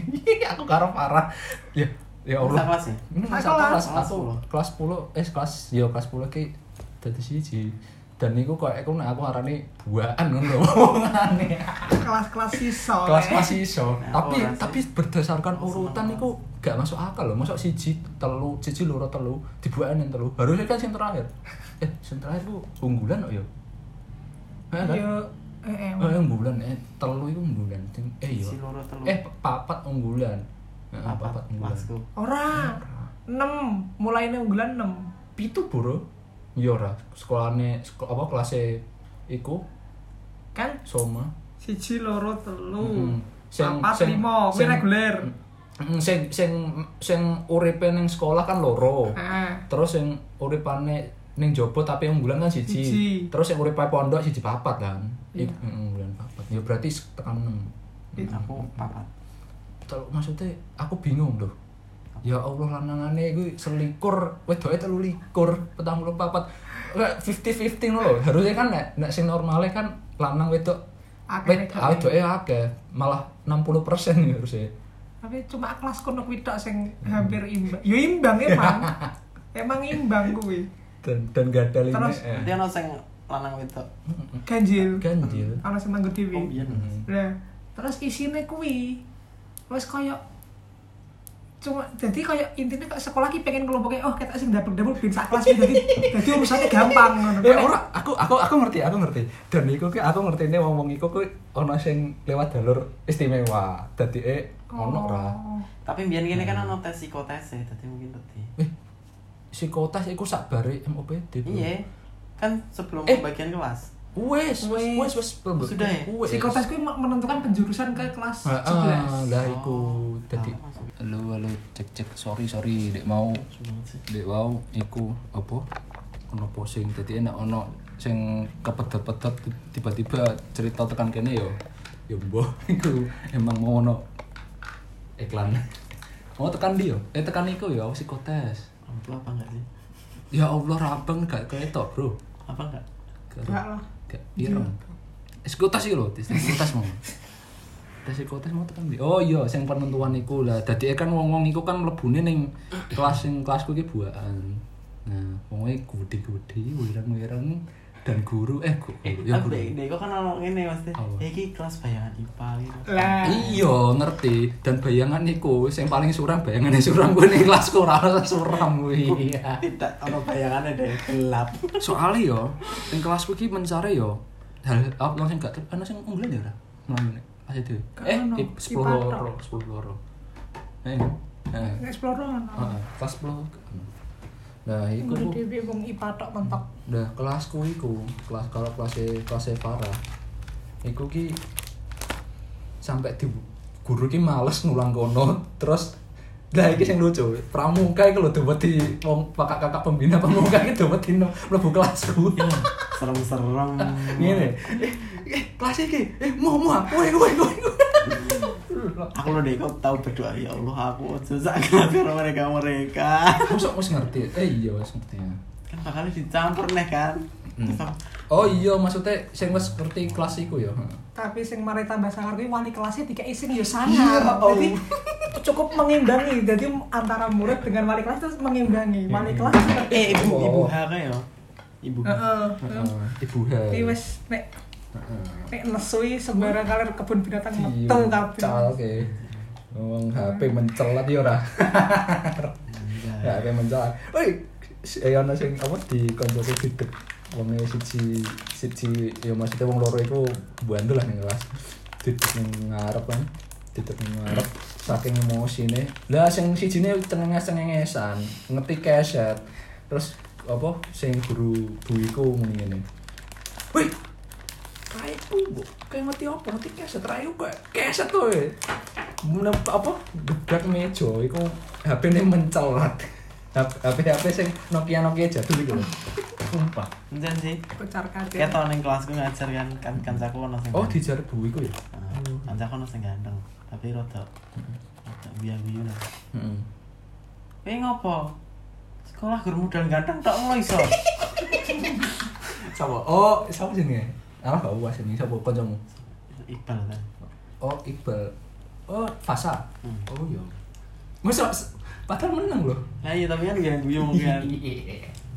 Speaker 1: aku karo parah ya ya Allah
Speaker 2: Masa kelas ya?
Speaker 1: Ini
Speaker 3: Masa
Speaker 1: masa
Speaker 3: kelas?
Speaker 1: kelas aku kelas 10 eh kelas ya kelas 10 ki dadi siji dan niku kok aku nek aku arane buaan ngono omongane
Speaker 3: Kelas-kelas eh. siswa.
Speaker 1: kelas kelas iso
Speaker 2: Nah,
Speaker 1: tapi
Speaker 2: ora sih.
Speaker 1: tapi berdasarkan
Speaker 2: Aku seneng
Speaker 1: urutan
Speaker 2: banget.
Speaker 1: niku gak masuk akal loh masuk siji telu siji loro telu dibuaan yang telu harusnya kan sing terakhir eh sing terakhir ku unggulan kok ya Eh, kan?
Speaker 3: Yo eh, eh,
Speaker 1: Eh, unggulan eh telu iku unggulan Sing- eh yo
Speaker 2: Siji loro telu.
Speaker 1: eh papat unggulan Eh,
Speaker 2: Apa
Speaker 1: papat unggulan
Speaker 2: kelasku?
Speaker 3: Ora. 6, mulainya unggulan 6.
Speaker 1: pitu bro iya ora sekolahane sekol apa kelasnya iku
Speaker 3: Kan
Speaker 1: soma
Speaker 3: siji loro telu.
Speaker 1: Mm-mm. Sing-
Speaker 3: Papat
Speaker 1: sing-
Speaker 3: lima, kuwi
Speaker 1: sing-
Speaker 3: reguler.
Speaker 1: Mm, sing sing sing uripe ning sekolah kan loro
Speaker 3: Heeh.
Speaker 1: terus yang uripane ning jopo tapi unggulan kan siji.
Speaker 3: Siji.
Speaker 1: Terus yang uripane pondok siji papat kan.
Speaker 3: Iya.
Speaker 1: Iya. unggulan papat. Ya berarti sek- tekan 6.
Speaker 2: Aku papat.
Speaker 1: Terus maksudnya aku bingung loh. Ya Allah lanangane gue selikur, wedoke telu likur, petang puluh papat. Enggak 50-50 ngono lho. Harusnya kan nek nek sing normale kan lanang wedok
Speaker 3: Akeh
Speaker 1: wed- ah,
Speaker 3: wedoke.
Speaker 1: wedoke akeh, malah 60% ya harusnya.
Speaker 3: Tapi cuma kelas kono kuwi tok sing hampir imbang. Yo imbang emang. emang imbang kuwi.
Speaker 1: Dan dan gadal ini.
Speaker 3: Terus,
Speaker 1: eh,
Speaker 2: Berarti ana sing lanang wedok.
Speaker 3: Ganjil.
Speaker 1: ganjil.
Speaker 3: Ana sing nanggo
Speaker 2: Oh
Speaker 3: dhewe.
Speaker 2: iya.
Speaker 3: Nah, terus isine kuwi wis koyo cuma jadi koyo intinya kok sekolah ki pengen kelompoknya oh kita sing dapur-dapur ben sak kelas jadi jadi urusannya gampang ngono.
Speaker 1: Eh ora, aku aku aku ngerti, aku ngerti. Dan iku ki aku ngertine wong-wong iku ku ana sing lewat jalur istimewa. Dadi e ono ora.
Speaker 3: Oh.
Speaker 2: Tapi biyen kene kan ana tes psikotes ya, dadi mungkin tadi.
Speaker 1: Eh, psikotes iku sakbare MOPD. Bro.
Speaker 2: Iya. Kan sebelum
Speaker 1: Eh.
Speaker 2: pembagian kelas.
Speaker 1: Wes, wes,
Speaker 3: Wes.
Speaker 1: wes, wes, pembe-
Speaker 2: Sudah ya?
Speaker 1: Wes.
Speaker 3: Psikotes kuwi menentukan penjurusan ke kelas
Speaker 1: Heeh,
Speaker 3: 11.
Speaker 1: lah iku. Dadi
Speaker 2: Tahu masuk.
Speaker 1: halo halo cek cek sorry sorry dek mau
Speaker 2: Cuma sih.
Speaker 1: dek mau iku apa ono posing dadi enak ono sing kepedet-pedet tiba-tiba cerita tekan kene yo yo mbah iku emang mau ono iklan mau tekan dia eh tekan iku yo aku psikotes
Speaker 2: Amplop apa enggak sih?
Speaker 1: ya Allah rabeng gak ketok bro
Speaker 2: Apa enggak?
Speaker 1: Gak-
Speaker 3: Enggak lah.
Speaker 1: Gak pirang. Psikotes iki lho, tes psikotes mau. Tes psikotes mau tekan ndi? Oh iya, sing penentuan iku lah. Dadike kan wong-wong iku kan mlebune ning kelas sing kelasku iki buakan. Nah, wonge gudi-gudi, wireng-wireng dan guru eh gu- guru, ya
Speaker 2: Ya
Speaker 1: guru.
Speaker 2: kok kan ngomong ini Mas.
Speaker 1: Apa?
Speaker 2: Ya iki kelas bayangan IPA gitu.
Speaker 3: Lah,
Speaker 1: Iya, ngerti. Dan bayangan iku sing paling suram bayangane suram kuwi ning kelas ora rasa suram kuwi.
Speaker 2: Tidak ono bayangannya deh gelap.
Speaker 1: Soalnya yo, ning kelasku iki mencari yo hal apa langsung gak ter- ana sing unggulan ya ora. Melayu nek. Pas itu.
Speaker 3: Gak
Speaker 1: Eh,
Speaker 3: ono.
Speaker 1: di
Speaker 3: Ipa
Speaker 1: 10
Speaker 3: tok.
Speaker 1: loro, 10 loro. Eh. Heeh.
Speaker 3: explore dong.
Speaker 1: Kelas 10. gak ono. Nah, iku
Speaker 3: Udah
Speaker 1: tuh.
Speaker 3: dhewe wong IPA tok mentok.
Speaker 1: Nah, kelasku iku, kelas kalau kelas E, kelas parah. Iku ki sampai di guru ki males nulang kono, terus Nah, iki sing lucu. Pramuka iku lho diwedi wong kakak-kakak pembina pramuka iki diwedi no- mlebu kelasku.
Speaker 3: Iya.
Speaker 2: Serem-serem.
Speaker 1: ngene eh, eh kelas iki eh mau mau kowe kowe kowe
Speaker 2: Aku lo deh kok tahu berdoa ya Allah aku susah kenapa sama mereka mereka.
Speaker 1: mosok wis ngerti eh iya wis ngerti ya.
Speaker 2: Kan bakal dicampur nih kan. Terus aku,
Speaker 1: oh iya maksudnya sing wis ngerti kelas iku ya
Speaker 3: Tapi sing mari tambah sangar kuwi wali kelasnya tiga isin ya
Speaker 2: Iya,
Speaker 3: sangar. Jadi cukup mengimbangi. Jadi antara murid dengan wali kelas itu mengimbangi.
Speaker 1: Hmm.
Speaker 3: Wali kelas seperti
Speaker 2: Eh ibu
Speaker 1: Oh.
Speaker 2: ibu H kan ya. Ibu. H.
Speaker 3: Heeh.
Speaker 1: Heeh, ibu ha
Speaker 3: Iki wis nek
Speaker 1: Heeh.
Speaker 3: nek nesui sembarang kalir kebun binatang
Speaker 1: Iya,
Speaker 3: metu kabeh.
Speaker 1: calke ngomong HP mencelat ya ora
Speaker 2: Anjay.
Speaker 1: HP mencelat woi si- eh ana sing apa di kantorku didek wong siji siji ya maksudnya wong loro iku bandel lah ning kelas didek ning ngarep kan didek ning ngarep saking emosine lah sing sijine cengenges-cengengesan ngetik keset terus apa sing guru buiku ngene ngene woi raiku bu kayak ngerti apa ngerti keset raiku kayak keset kowe Mena- apa gebrak meja iku HP ini mencelat HP HP sing Nokia Nokia jadul iku lho. sumpah
Speaker 2: Encen sih.
Speaker 3: Pecar kabeh.
Speaker 2: Kayak tahun yang kelasku ngajar kan kan kancaku ono sing.
Speaker 1: oh di jarbu iku ya
Speaker 2: Heeh. Kancaku ono sing ganteng. Tapi rada rada biang-biang lah.
Speaker 1: Heeh.
Speaker 2: Eh ngopo? Sekolah gur modal ganteng tak ngono iso.
Speaker 1: Sapa? Oh, sapa jenenge? Arah gak uas ini sapa kancamu?
Speaker 2: Iqbal kan.
Speaker 1: Oh, Iqbal. Oh, Fasa.
Speaker 2: Hmm.
Speaker 1: Oh iya. Masa padahal menang loh.
Speaker 2: Lah iya tapi kan gak guyu kan.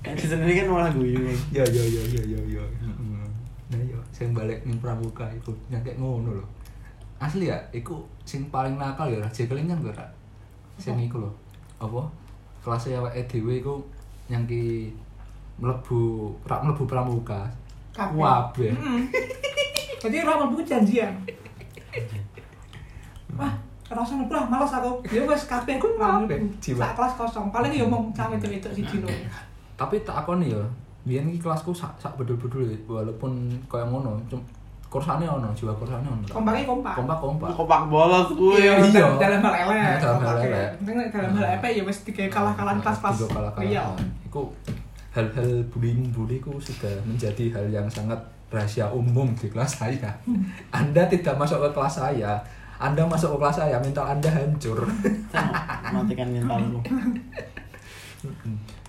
Speaker 2: Kan di sini kan malah guyu.
Speaker 1: Ya ya ya ya ya ya. Heeh. Nah iya, sing balik ning pramuka iku nyangke ngono loh. Asli ya, iku sing paling nakal ya, jekelingan gue ra. Sing iku loh. Apa? Kelasnya awake dhewe iku nyangki mlebu rak mlebu pramuka.
Speaker 3: Kabeh.
Speaker 1: Kabeh.
Speaker 3: Jadi ora mampu janjian.
Speaker 1: Hmm.
Speaker 3: Wah, rasa mlebu lah malas aku. Ya wis kabeh ku
Speaker 1: Kabeh,
Speaker 3: mlebu.
Speaker 1: jiwa.
Speaker 3: Sak kelas kosong. Paling ya omong cawe itu siji lho.
Speaker 1: tapi tak akoni ya biyen iki kelasku sak sak bedul-bedul ya walaupun kaya ngono cum kursane ono jiwa kursane ono
Speaker 3: Kompaknya kompak.
Speaker 1: kompak kompak
Speaker 2: Kopak bolos kuwi.
Speaker 1: Iya.
Speaker 3: dalam- dalam hal
Speaker 1: Dalam hal
Speaker 3: elek. kompaknya.
Speaker 1: elek. Iya.
Speaker 3: Penting nek dalam hal elek ya wis tiga kalah-kalahan kelas-kelas.
Speaker 1: Tiga
Speaker 3: Iya.
Speaker 1: kalah-kalahan iku hal-hal bullying bully ku sudah menjadi hal yang sangat rahasia umum di kelas saya anda tidak masuk ke kelas saya anda masuk ke kelas saya mental anda hancur
Speaker 2: Matikan mentalku.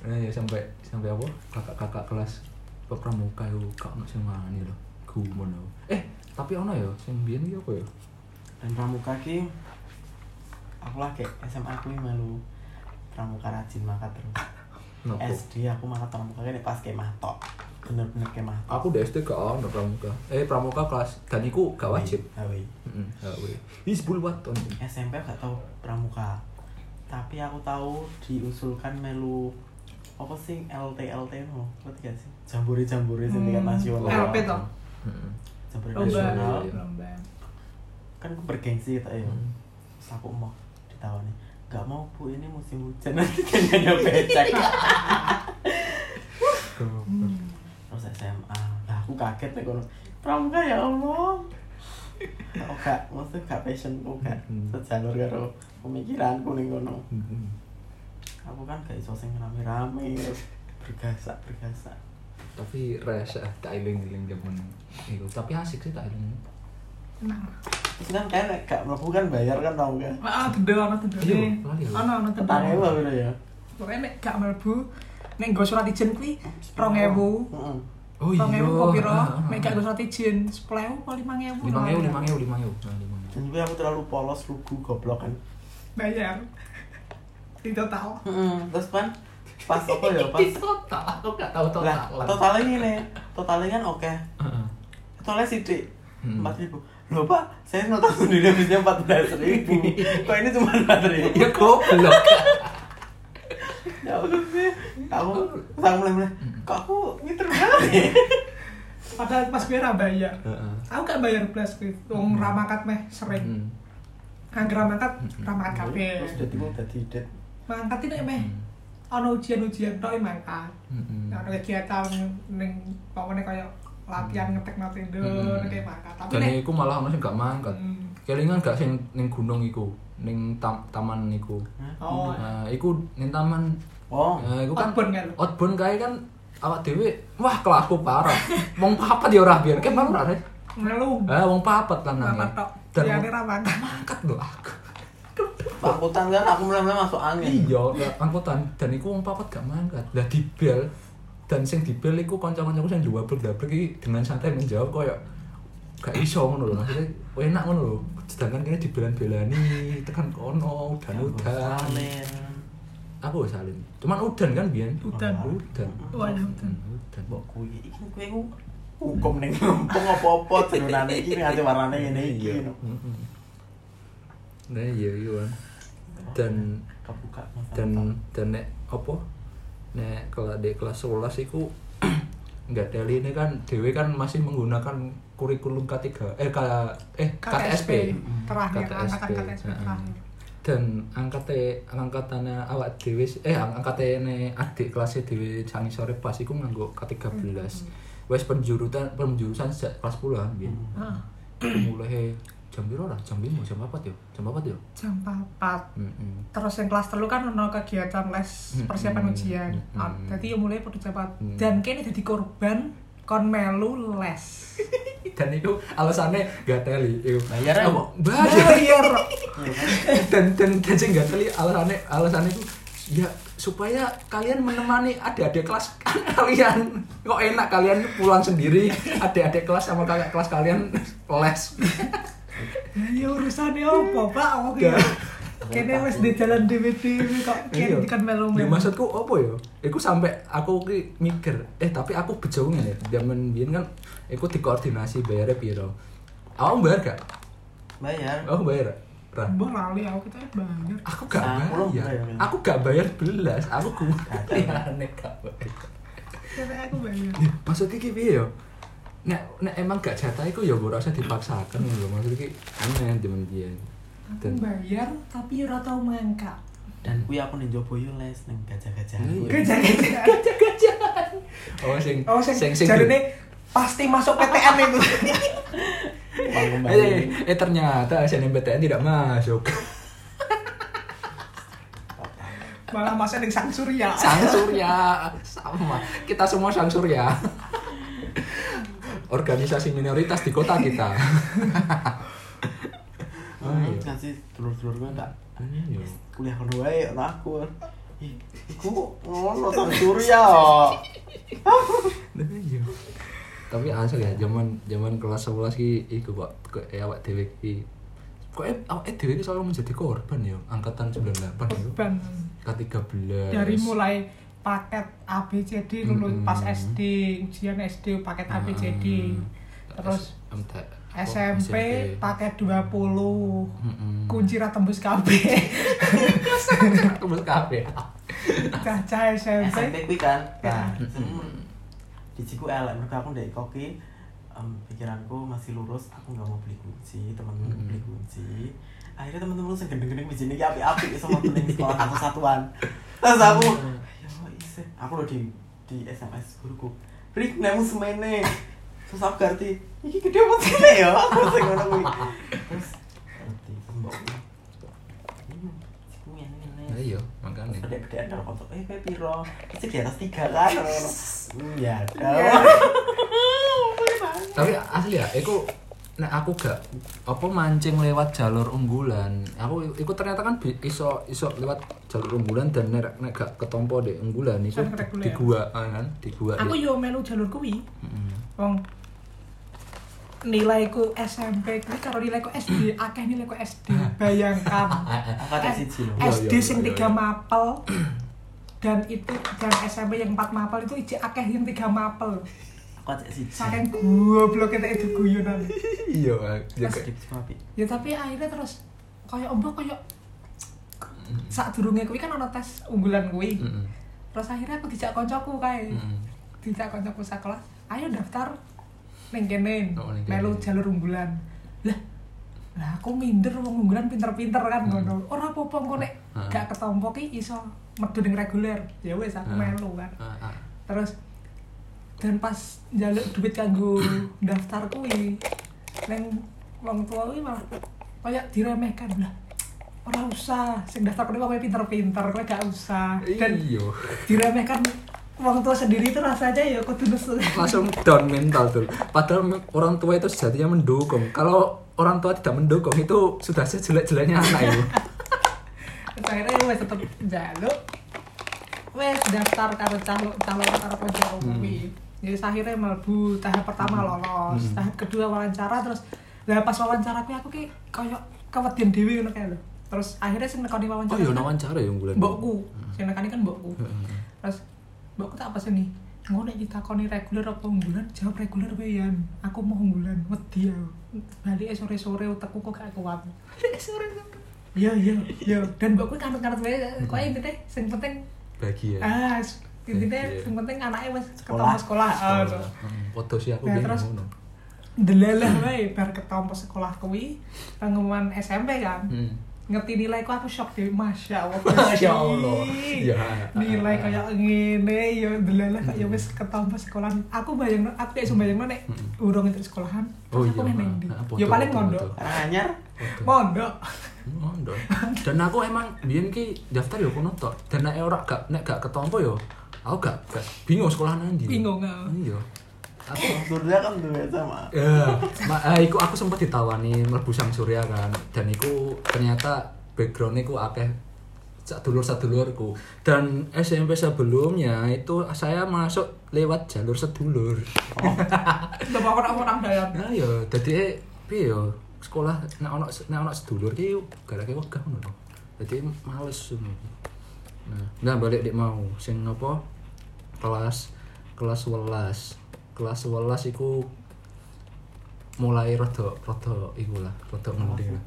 Speaker 1: nah ya sampai sampai apa kakak-kakak kelas pramuka yo gak ono sing wani lho gumun aku. eh tapi ono ya sing biyen iki apa ya
Speaker 2: Dan pramuka ki aku lah kayak SMA aku ini melu pramuka rajin makan terus.
Speaker 1: Nopo?
Speaker 2: SD aku makan pramuka ini pas kayak mahtok. Bener-bener kayak mahtok.
Speaker 1: aku dari SD gak ono pramuka eh pramuka kelas dan iku gak wajib
Speaker 2: Hawi.
Speaker 1: heeh gawe hizbul waton
Speaker 2: SMP gak tau pramuka. Tapi aku tahu diusulkan melu apa sih LT LT mau ngerti gak sih? Jambore jambore sindikat
Speaker 3: Hmm.
Speaker 2: nasional.
Speaker 3: LP toh.
Speaker 1: Heeh.
Speaker 2: Jambore
Speaker 3: Lomba.
Speaker 2: nasional.
Speaker 1: Iya.
Speaker 3: Lomba.
Speaker 2: kan aku bergengsi gitu ya
Speaker 1: Hmm.
Speaker 2: terus aku mau ditawani gak mau bu ini musim hujan nanti kan ada becek terus SMA nah, aku kaget nih kono pramuka ya Allah aku gak maksudnya gak passionku gak
Speaker 1: Hmm.
Speaker 2: sejalur karo pemikiranku nih kono
Speaker 1: Heeh.
Speaker 2: aku kan gak iso sing rame-rame terus bergasak bergasak
Speaker 1: tapi rasa ah, tak eling-eling jaman iku tapi asik sih tak eling
Speaker 3: Tenang.
Speaker 2: Terus kan kan gak mlebu kan bayar kan tau kan.
Speaker 3: Ah, tendo ana tendo.
Speaker 1: Iya, lali aku.
Speaker 3: Ana ana tendo.
Speaker 2: Tangi wae lho ya.
Speaker 3: Pokoke nek gak mlebu nek nggo surat izin kuwi 2000.
Speaker 2: Heeh.
Speaker 1: oh
Speaker 3: 2000 opo piro?
Speaker 1: Ah, ah, ah.
Speaker 3: Nek gak nggo surat izin 10.000 apa 5.000?
Speaker 1: lima ewu lima ewu lima ewu Nah, lima ewu.
Speaker 2: Dan gue aku terlalu polos lugu goblok kan.
Speaker 3: Bayar. Tidak tahu.
Speaker 2: Heeh. Terus kan pas apa ya pas
Speaker 1: total aku gak tahu
Speaker 2: lah
Speaker 1: total Ah,
Speaker 2: totalnya ini totalnya kan oke totalnya sidik
Speaker 1: Hmm.
Speaker 2: empat ribu loh pak saya nonton sendiri habisnya empat belas ribu kok ini cuma empat ribu
Speaker 1: ya goblok
Speaker 2: ya Allah, aku saya mulai mulai kok aku ngiter banget ya
Speaker 3: Padahal pas gue ra bayar.
Speaker 1: Heeh.
Speaker 3: Aku gak bayar plus gue. Wong ramakat meh sering.
Speaker 1: ah. Hmm.
Speaker 3: Angger ramakat, ramakat kabeh.
Speaker 2: terus jadi gue udah tidak
Speaker 3: Mangkat ini meh. Ana ujian-ujian tok mangkat.
Speaker 1: Hmm.
Speaker 3: Nah, ada kegiatan ning pokoknya kayak latihan ngetek natindo
Speaker 1: Hmm.
Speaker 3: kayak mangkat. Tapi
Speaker 1: dan
Speaker 3: nek
Speaker 1: iku malah ono sing gak mangkat
Speaker 3: Hmm.
Speaker 1: kelingan gak sing ning gunung iku ning tam- taman iku
Speaker 3: Oh,
Speaker 1: Nah, iku ning taman
Speaker 2: oh
Speaker 1: Nah, iku kan
Speaker 3: outbound kan.
Speaker 1: outbound kae kan awak dhewe wah kelaku parah. Wong papat ya ora biyen kan ora rek.
Speaker 3: Melu.
Speaker 1: Ah wong papat lanang.
Speaker 3: Apa tok?
Speaker 1: Dan
Speaker 3: Ya
Speaker 1: wong-
Speaker 3: ora mangkat.
Speaker 1: mangkat lho aku.
Speaker 2: angkutan kan aku mulai mulai masuk angin
Speaker 1: Iya, angkutan dan iku wong papat gak mangkat. Lah dibel dan sing dibel iku kanca-kancaku sing jawab dablek iki dengan santai menjawab koyo gak iso ngono lho maksudnya oh, enak ngono lho sedangkan kene dibelan-belani tekan kono udan udan
Speaker 2: angin
Speaker 1: aku wis salin cuman udan kan biyen Oh,
Speaker 3: Udan.
Speaker 1: udan
Speaker 3: Waduh.
Speaker 1: udan
Speaker 2: mbok kui iki kui ku hukum ning rumpung apa-apa jenenane iki ngate warnane ngene iki no.
Speaker 1: Mm-mm. Nah iya iya Wan. Dan
Speaker 2: kebuka
Speaker 1: dan dan nek apa? Nek kalau di kelas 11 iku nggak teli ini kan Dewi kan masih menggunakan kurikulum K3 eh K eh KTSP.
Speaker 3: terakhir ya, angkatan KTSP
Speaker 1: KTSP.
Speaker 3: terakhir.
Speaker 1: Dan angkate angkatannya awak Dewi eh angkatane adik kelasnya Dewi Cangi sore pas iku nganggo K13. Wes penjurusan penjurusan sejak kelas 10-an biyen.
Speaker 3: Heeh.
Speaker 1: mulai jam piro lah jam lima jam apa yo jam apa yo
Speaker 3: Jam 4. Terus yang kelas telu kan ono kegiatan les
Speaker 1: Hmm,
Speaker 3: persiapan
Speaker 1: hmm,
Speaker 3: ujian.
Speaker 1: hmm,
Speaker 3: Ah,
Speaker 1: hmm.
Speaker 3: Jadi ya mulai pada cepat.
Speaker 1: Hmm.
Speaker 3: Dan kene jadi korban kon melu les.
Speaker 1: dan itu alasannya gak teli itu
Speaker 2: Bayar ya,
Speaker 1: Apa?
Speaker 2: Mbok?
Speaker 1: bayar
Speaker 3: Iya, Ro.
Speaker 1: dan dan dan sing gak teli alasannya alasannya itu ya supaya kalian menemani adik-adik kelas kalian kok enak kalian pulang sendiri adik-adik kelas sama kakak kelas kalian les
Speaker 3: Ya urusane opo, Pak? Aku ki.
Speaker 1: Gak.
Speaker 3: Kene wis di jalan dhewe-dhewe kok
Speaker 1: Iya.
Speaker 3: kene kan
Speaker 1: Ya,
Speaker 3: melu-melu.
Speaker 1: maksudku opo ya? Iku sampai aku ki mikir, eh tapi aku bejauh ya. Zaman biyen kan iku dikoordinasi bayarnya piro. Awak bayar gak?
Speaker 2: bayar
Speaker 1: Aku bayar. Ra.
Speaker 3: Mbok lali aku kita banyak.
Speaker 1: Aku gak
Speaker 2: Nah, aku lo
Speaker 1: bayar.
Speaker 2: bayar.
Speaker 1: Aku gak bayar belas. Aku kuat. Ya, nek gak bayar.
Speaker 3: Kene aku banyak.
Speaker 1: Ya, Maksudnya ki piye ya? Nek nek emang gak jatah iku ya ora usah dipaksakan lho. Maksudnya ki aneh zaman biyen.
Speaker 3: Aku
Speaker 1: Dan-
Speaker 3: bayar tapi ora tau mangka.
Speaker 2: dan kui aku ning njaba yo les ning gajah-gajah
Speaker 1: Iya.
Speaker 3: Gajah-gajah.
Speaker 1: Oh sing
Speaker 3: Oh, sing, jarine pasti masuk PTN itu.
Speaker 2: Uang
Speaker 1: Eh,
Speaker 2: kembali
Speaker 1: eh ternyata SNMPTN tidak masuk.
Speaker 3: Malah masuk ning Sang Surya.
Speaker 1: Sang Surya sama kita semua Sang Surya. Organisasi minoritas di kota kita. Oh,
Speaker 2: Hmm,
Speaker 1: iya.
Speaker 2: ngasih dulur-dulur gue tak kuliah kedua ya ora aku Ih, iku ngono sang surya
Speaker 1: Tapi asli ya zaman zaman kelas 11 ki iku kok kok eh, awak dhewe ki. Kok eh, awak eh, dhewe ki selalu menjadi korban ya angkatan 98 itu.
Speaker 3: Korban.
Speaker 1: K13.
Speaker 3: Dari mulai paket ABCD dulu
Speaker 1: Iya, Mm-mm.
Speaker 3: pas SD, ujian SD paket ABCD. Terus
Speaker 1: MT- apa,
Speaker 3: SMP paket 20.
Speaker 1: Mm-mm.
Speaker 3: Kunci ra tembus kabeh.
Speaker 1: Kebus kabeh.
Speaker 3: Cacah ya, SMP.
Speaker 2: SMP kui kan nah
Speaker 3: Ya.
Speaker 2: diciku elek mereka aku ndek koki em, pikiranku masih lurus aku nggak mau beli kunci temen-temen beli kunci akhirnya temen-temen sing gendeng-gendeng biji ini api-api sama gendeng sekolah aku satuan terus aku ayo isi aku lo di di SMS guruku Rik nemu semene terus aku ganti iki gede apa cilik ya aku sing ngono kuwi terus ganti mbok ini ini, ini.
Speaker 1: Iya, makanya.
Speaker 2: bedek-bedekan dalam kontrak eh kayak piro pasti di atas tiga kan Hmm, ya
Speaker 3: Iya.
Speaker 2: tau
Speaker 1: tapi asli ya aku nek aku gak apa mancing lewat jalur unggulan aku iku ternyata kan bi- iso iso lewat jalur unggulan dan nek nek gak ketompo deh unggulan iku
Speaker 3: Sampai reguler.
Speaker 1: di gua ah, kan di gua
Speaker 3: aku yo melu jalur kuwi wong nilaiku SMP kuwi karo nilaiku SD akeh nilaiku SD bayangkan
Speaker 2: angkatan siji loh
Speaker 1: Eh.
Speaker 3: SD
Speaker 1: Iya, iya,
Speaker 3: sing
Speaker 1: iya,
Speaker 3: tiga
Speaker 1: iya.
Speaker 3: mapel dan itu dan SMP yang empat mapel itu ijek akeh yang tiga mapel
Speaker 2: angkatan siji
Speaker 3: saking goblok kita itu guyonan
Speaker 1: iya ya
Speaker 2: Sedikit sama api.
Speaker 3: ya tapi akhirnya terus kayak ombo kayak saat durungnya kuwi kan ono tes unggulan kuwi
Speaker 1: Hmm.
Speaker 3: terus akhirnya aku dijak koncoku kae dijak koncoku sekolah ayo daftar ning kene
Speaker 1: Oh, ning kene.
Speaker 3: melu jalur unggulan lah lah aku minder wong unggulan pinter-pinter kan
Speaker 1: Hmm.
Speaker 3: ngono ora apa-apa engko nek
Speaker 1: Heeh.
Speaker 3: gak ketompo ki iso metu ning reguler ya wis aku
Speaker 1: Heeh.
Speaker 3: melu kan
Speaker 1: Ah,
Speaker 3: terus dan pas njaluk duit kanggo daftar kuwi neng wong tua kuwi malah kayak diremehkan lah ora usah sing daftar kuwi kowe pinter-pinter kowe gak usah dan
Speaker 1: iya
Speaker 3: diremehkan orang tua sendiri itu rasanya ya kudu nesu
Speaker 1: langsung down mental tuh padahal me- orang tua itu sejatinya mendukung kalau orang tua tidak mendukung itu sudah sejelek-jeleknya anak itu
Speaker 3: Terus akhirnya ya wes tetep jaluk wes daftar karo calon calon karo pojok
Speaker 1: Hmm.
Speaker 3: kuwi jadi akhirnya melbu tahap pertama lolos tahap kedua wawancara terus lah pas wawancara kuwi aku ki koyo kewedian dhewe ngono kae lho terus akhirnya sing nekoni
Speaker 1: oh
Speaker 3: wawancara
Speaker 1: iya
Speaker 3: kan
Speaker 1: wawancara Hmm. ya unggulan
Speaker 3: mbokku sing nekani kan mbokku
Speaker 1: Heeh.
Speaker 3: terus mbokku tak apa sini ngono nek ditakoni reguler apa unggulan jawab reguler wae yan aku mau unggulan wedi aku balik sore-sore utekku kok gak kuat balik sore iya iya iya dan mbokku kanut-kanut wae kok intine sing penting
Speaker 1: bagi ya
Speaker 3: ah s- intine
Speaker 1: Iya.
Speaker 3: sing penting anake wis
Speaker 2: Sekolah.
Speaker 3: ketemu sekolah ah terus
Speaker 1: Hmm, foto sih aku
Speaker 3: Ya,
Speaker 1: bingung
Speaker 3: terus-
Speaker 1: ngono.
Speaker 3: delalah wae bar ketemu sekolah kuwi pengumuman SMP kan
Speaker 1: Hmm.
Speaker 3: ngerti nilai ku aku shock deh masya allah
Speaker 1: Masya Allah. Ya.
Speaker 3: nilai kayak ngene ya delala kayak wis ketompo sekolahan aku bayang aku kayak cuma bayang nek urung itu sekolahan
Speaker 1: Oh
Speaker 3: terus aku
Speaker 1: iya,
Speaker 3: main main di
Speaker 1: ah, ah, bodoh,
Speaker 3: ya paling
Speaker 1: bodoh,
Speaker 3: mondok
Speaker 1: bodoh.
Speaker 2: Karena anyar
Speaker 3: mondok
Speaker 1: Mondo. Dan aku emang biyen ki daftar yo kono tok. Dan nek ora gak nek gak ketompo yo aku gak, gak bingung sekolah nang ndi.
Speaker 3: Bingung, ah.
Speaker 1: Iya. Aku
Speaker 2: Surya kan dulu sama
Speaker 1: ya, ma, eh, iku aku sempat ditawani mlebu Sang Surya kan. Dan iku ternyata background iku akeh sadulur-sadulurku. Dan SMP sebelumnya itu saya masuk lewat jalur sedulur.
Speaker 3: coba orang orang dalam
Speaker 1: Nah ya dadi e, piye ya sekolah nek ana nek ana sedulur ki gara-gara wegah ngono to. Dadi males ngono. Nah, nah balik dik mau sing apa? Kelas kelas 11. Kelas 11 iku mulai rada rada iku lah, rada mending lah.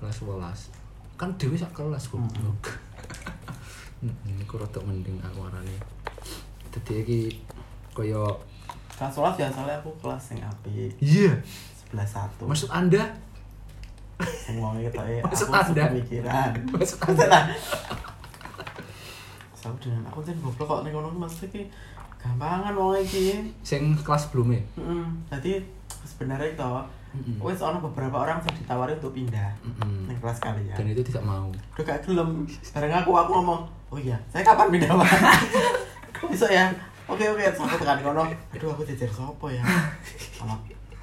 Speaker 1: Kelas 11. Kan dhewe sak kelas goblok. Heeh, iku rada mending aku arane. Dadi iki kaya
Speaker 2: kelas sekolah biasanya ya, aku kelas yang api
Speaker 1: iya,
Speaker 2: sebelas satu
Speaker 1: maksud Anda
Speaker 2: semuanya kita eh
Speaker 1: Maksud
Speaker 2: aku
Speaker 1: Anda?
Speaker 2: pemikiran
Speaker 1: Maksud
Speaker 2: nah sama dengan aku tuh goblok kok nih kono maksudnya ki gampangan wong iki
Speaker 1: sing kelas ya? sebelumnya
Speaker 2: Heeh. jadi sebenarnya itu wes ono beberapa orang yang ditawari untuk pindah
Speaker 1: Mm-mm.
Speaker 2: nih kelas kalian
Speaker 1: dan itu tidak mau
Speaker 2: udah gak gelem bareng aku aku ngomong oh iya saya kapan pindah pak bisa ya oke oke terus aku tekan kono aduh aku jejer sopo ya ono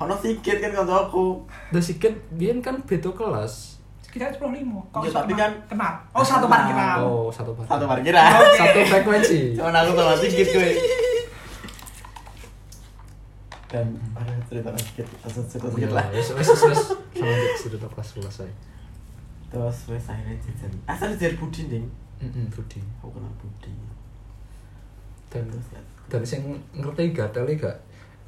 Speaker 2: ono sikit kan kanca aku
Speaker 1: dan sikit biyen kan beda kelas
Speaker 3: kita sepuluh lima
Speaker 2: Ya, tapi kan-
Speaker 3: kenal oh satu parkiran
Speaker 1: oh satu parkiran
Speaker 2: Ah. satu parkiran
Speaker 1: Satu frekuensi
Speaker 2: cuman aku sama sikit gue dan ada cerita sikit cerita sikit
Speaker 1: Iya,
Speaker 2: sikit lah
Speaker 1: wes wes wes wes sama aja cerita kelas selesai
Speaker 2: terus wes akhirnya jejer asal jejer budi ding
Speaker 1: Mm-mm, Budi
Speaker 2: aku kenal budi
Speaker 1: dan
Speaker 2: terus ya
Speaker 1: dan sing ngerti gak teli gak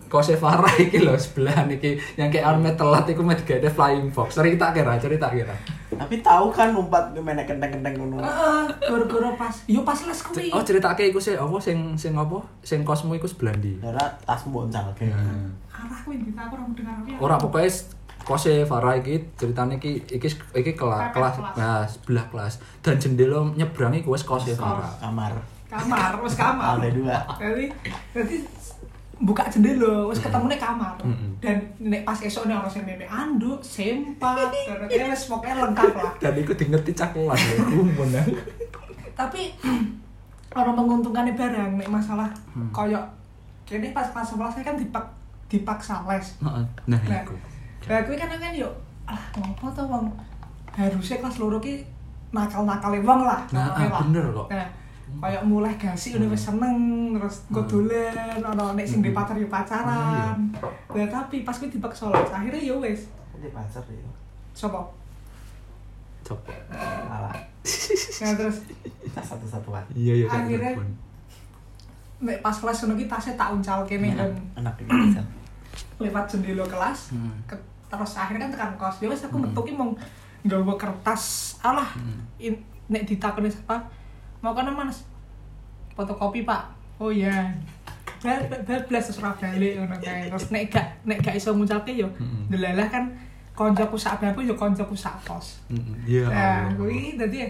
Speaker 1: Kose Farah iki lho sebelahan iki yang kayak armet telat iku met gak ada flying fox. Cerita kira, cerita kira.
Speaker 2: tapi tahu kan numpat gue mainnya kenteng kenteng ngono
Speaker 3: Heeh, gara-gara pas yo pas les kuwi
Speaker 1: Oh cerita iku sih apa sing sing apa sing kosmu iku sebelandi.
Speaker 2: darah tas boncal kayak
Speaker 1: Hmm.
Speaker 3: arah kuwi kita aku orang dengar aku ya.
Speaker 1: Ora pokoknya s- kose Farah iki ceritanya iki iki iki kela,
Speaker 3: Pepes
Speaker 1: kelas
Speaker 3: kelas.
Speaker 1: nah sebelah kelas dan jendela nyebrangi kuwes kose Farah.
Speaker 2: kamar
Speaker 3: kamar wes
Speaker 1: Ah,
Speaker 3: kamar
Speaker 2: ada dua
Speaker 3: jadi nanti buka jendela wis ketemu nih kamar
Speaker 1: Mm-mm.
Speaker 3: dan nek pas esok nih orang sing nenek anduk sempak terus wis pokoknya lengkap lah
Speaker 1: Dan iku diingetin cak kelas lho, kumun.
Speaker 3: tapi orang menguntungkannya barang nek masalah koyok kene pas kelas 11 saya kan dipak dipaksa les
Speaker 1: Heeh. Nah,
Speaker 3: Nah,
Speaker 1: iku.
Speaker 3: Lah kuwi kan kan yo ah ngopo to wong harusnya kelas loro ki nakal-nakale wong lah.
Speaker 1: Nah,
Speaker 3: pokoknya
Speaker 1: ah,
Speaker 3: lah.
Speaker 1: bener kok. Hmm.
Speaker 3: Nah, kayak mulai gasik udah wis seneng terus gue dolen ono nek sing dipacar yo pacaran.
Speaker 1: Oh, iya.
Speaker 3: Lah tapi pas kuwi dipaksa les akhirnya yo wis
Speaker 2: Ini pacar ya.
Speaker 3: coba.
Speaker 1: Coba.
Speaker 2: Alah,
Speaker 3: Nah, terus
Speaker 2: kita satu-satuan.
Speaker 1: Iya, iya. kan,
Speaker 3: Akhirnya-
Speaker 1: telepon.
Speaker 3: nek pas kelas ngono ki tasnya tak uncal kene
Speaker 1: Nah.
Speaker 3: dan
Speaker 2: Enak ini bisa.
Speaker 3: lewat jendela kelas.
Speaker 1: Hmm.
Speaker 3: Ke, terus akhirnya kan tekan kos. Yo wis aku metu ki mung nggawa kertas. Alah, in, nek ditakoni siapa mau kan manis fotokopi pak oh iya bel bel belas terus ora balik ngono kae terus nek gak nek gak iso ngucapke yo
Speaker 1: Mm-mm.
Speaker 3: delalah kan koncoku sak aku yo koncoku sak kos
Speaker 1: Mm-mm. Iya.
Speaker 3: nah
Speaker 1: Allah.
Speaker 3: kuwi dadi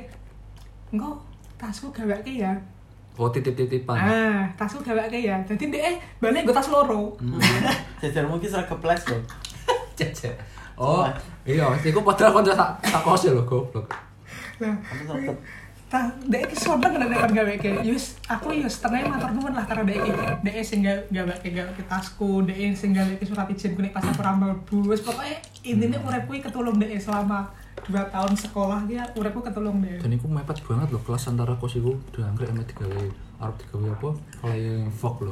Speaker 3: engko tasku gawake ya
Speaker 1: Oh, titip-titipan.
Speaker 3: ah tasku gawake ya dadi ndek eh balik gue tas loro
Speaker 2: Hmm. Jajar mungkin serah keples loh.
Speaker 1: Cece. Oh, iya, iku padahal kanca tak tak kos lho, goblok.
Speaker 3: nah
Speaker 2: Kamu serah ke
Speaker 3: Tah, E dek iki seneng nek nek gawe ke. Yus, aku yo setengah matur nuwun lah karo E dek iki. Dek iki sing gawe gawe- gawe ke tasku, dek iki sing gawe ke surat izin kuwi pas aku ramal bus. Pokoke intine urip kuwi ketulung dek iki selama 2 tahun sekolah ya uripku ketulung dek.
Speaker 1: Dan iku mepet banget lho kelas antara kos iku dianggrek ame digawe arep digawe apa? Flying fox lho.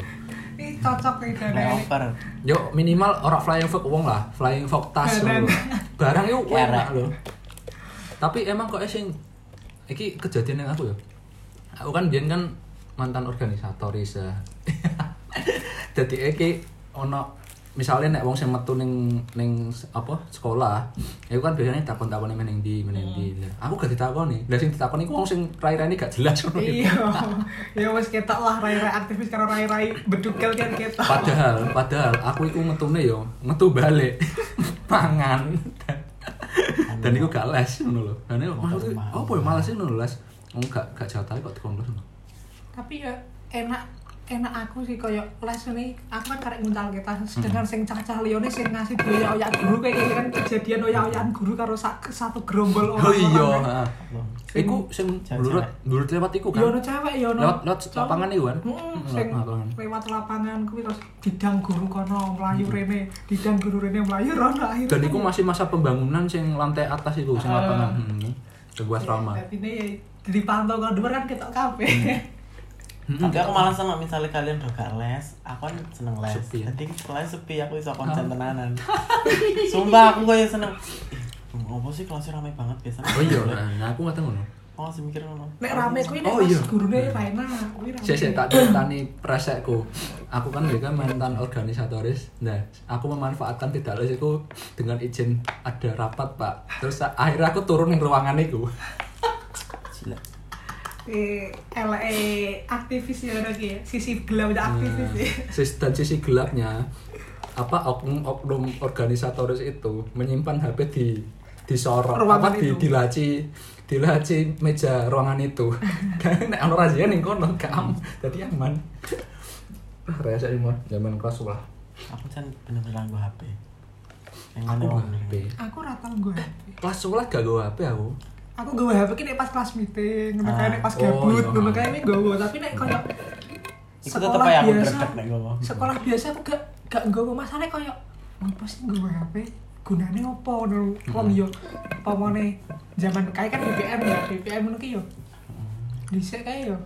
Speaker 3: Ini cocok nih dek.
Speaker 2: over.
Speaker 1: Yo minimal ora flying fox wong lah, flying fox tas
Speaker 3: Barang.
Speaker 1: lho. Barang iku
Speaker 2: Kerek.
Speaker 1: enak lho. Tapi emang kok sing iki kejadian yang aku ya. Aku kan biyen kan mantan organisatoris ya. Dadi iki ono misalnya nek wong sing metu ning ning s- apa sekolah, iku kan biasanya takon-takoni meneng ndi, meneng ndi.
Speaker 3: Hmm.
Speaker 1: Lah, Aku gak ditakoni. Lah sing ditakoni ku wong sing rai-raine gak jelas ngono.
Speaker 3: Iya. Ya wis ketok lah rai-rai aktivis karo rai-rai bedukel kan ketok.
Speaker 1: padahal padahal aku iku metune yo metu balik pangan dan iku gak les ngono lho dan iku maksudku opo ya males ngono les Wong gak gak jatah kok dikon les
Speaker 3: tapi ya enak enak aku sih koyo les ini aku kan karek nguncal kita sedangkan
Speaker 1: Hmm.
Speaker 3: sing cacah lione sing ngasih biaya oyak guru kayak gini kan kejadian oyak-oyakan guru karo sa- satu gerombol
Speaker 1: oh iya ha.
Speaker 3: orang-orang.
Speaker 2: Loh.
Speaker 1: iku sing
Speaker 2: Cewek-cewek.
Speaker 1: blurut blurut lewat iku
Speaker 3: ya ono
Speaker 1: kan
Speaker 3: cewek ya ono
Speaker 1: lewat lewat
Speaker 3: cowok.
Speaker 1: lapangan iku kan
Speaker 3: Mm,
Speaker 1: Lewat
Speaker 3: sing
Speaker 1: lapangan
Speaker 3: lewat lapangan kuwi terus didang guru kono mlayu rene didang guru rene mlayu rono akhirnya
Speaker 1: Hmm. dan iku masih masa pembangunan sing lantai atas iku sing
Speaker 3: Ah.
Speaker 1: lapangan hmm. sebuah asrama
Speaker 3: ini ya dipantau kalau dulu kan ketok kafe
Speaker 1: Hmm.
Speaker 2: Tapi aku malah sama misalnya kalian udah gak les, aku kan seneng les.
Speaker 1: Sepi ya?
Speaker 2: Jadi kelas sepi aku bisa konsen tenanan. Sumpah aku kayak seneng. Ih, Ngopo sih kelasnya rame banget biasanya.
Speaker 1: oh iya nah, nah aku ngata ngono
Speaker 2: Aku masih mikir ngono.
Speaker 3: nek rame kuwi nek
Speaker 1: Oh,
Speaker 3: pas
Speaker 1: iya.
Speaker 3: gurune Raina kuwi rame
Speaker 1: Saya saya tak ceritani presekku. Aku kan juga mantan organisatoris. Nah, aku memanfaatkan tidak lesku dengan izin ada rapat pak. Terus a- akhirnya aku turun di ruangan itu.
Speaker 2: Gila.
Speaker 3: eh LA aktivis ya orang ya sisi gelap udah aktivis
Speaker 2: Hmm.
Speaker 3: ya
Speaker 1: Sis- Dan sisi gelapnya apa oknum-oknum organisatoris itu menyimpan HP di di sorok apa
Speaker 3: Ruangan
Speaker 1: di
Speaker 3: itu.
Speaker 1: di laci di laci meja ruangan itu. Kan nek ono razia ning kono gak am- Jadi aman. Nah, rasa ini mah zaman kelas lah.
Speaker 2: Aku kan bener-bener nganggo HP. Yang mana
Speaker 1: Aku
Speaker 2: bener.
Speaker 1: HP.
Speaker 3: aku rata gue HP
Speaker 1: Oh, kelas sekolah gak gue HP aku
Speaker 3: aku gue HP ki nek pas kelas meeting
Speaker 2: Ah.
Speaker 3: nek kayak nek pas
Speaker 1: Oh,
Speaker 3: gabut
Speaker 1: iya.
Speaker 3: nek kayak nek gue tapi nek kalau
Speaker 2: Iku tetep ae
Speaker 3: sekolah
Speaker 2: aku
Speaker 3: biasa
Speaker 2: dredeg nek
Speaker 1: Oh,
Speaker 2: ngono.
Speaker 3: sekolah
Speaker 1: iya.
Speaker 3: biasa aku gak gak gue masalahnya kayak apa sih gue HP gunane opo no wong
Speaker 1: Hmm.
Speaker 3: yo pomone zaman kae kan BBM ya BBM ngono ki yo dhisik kae yo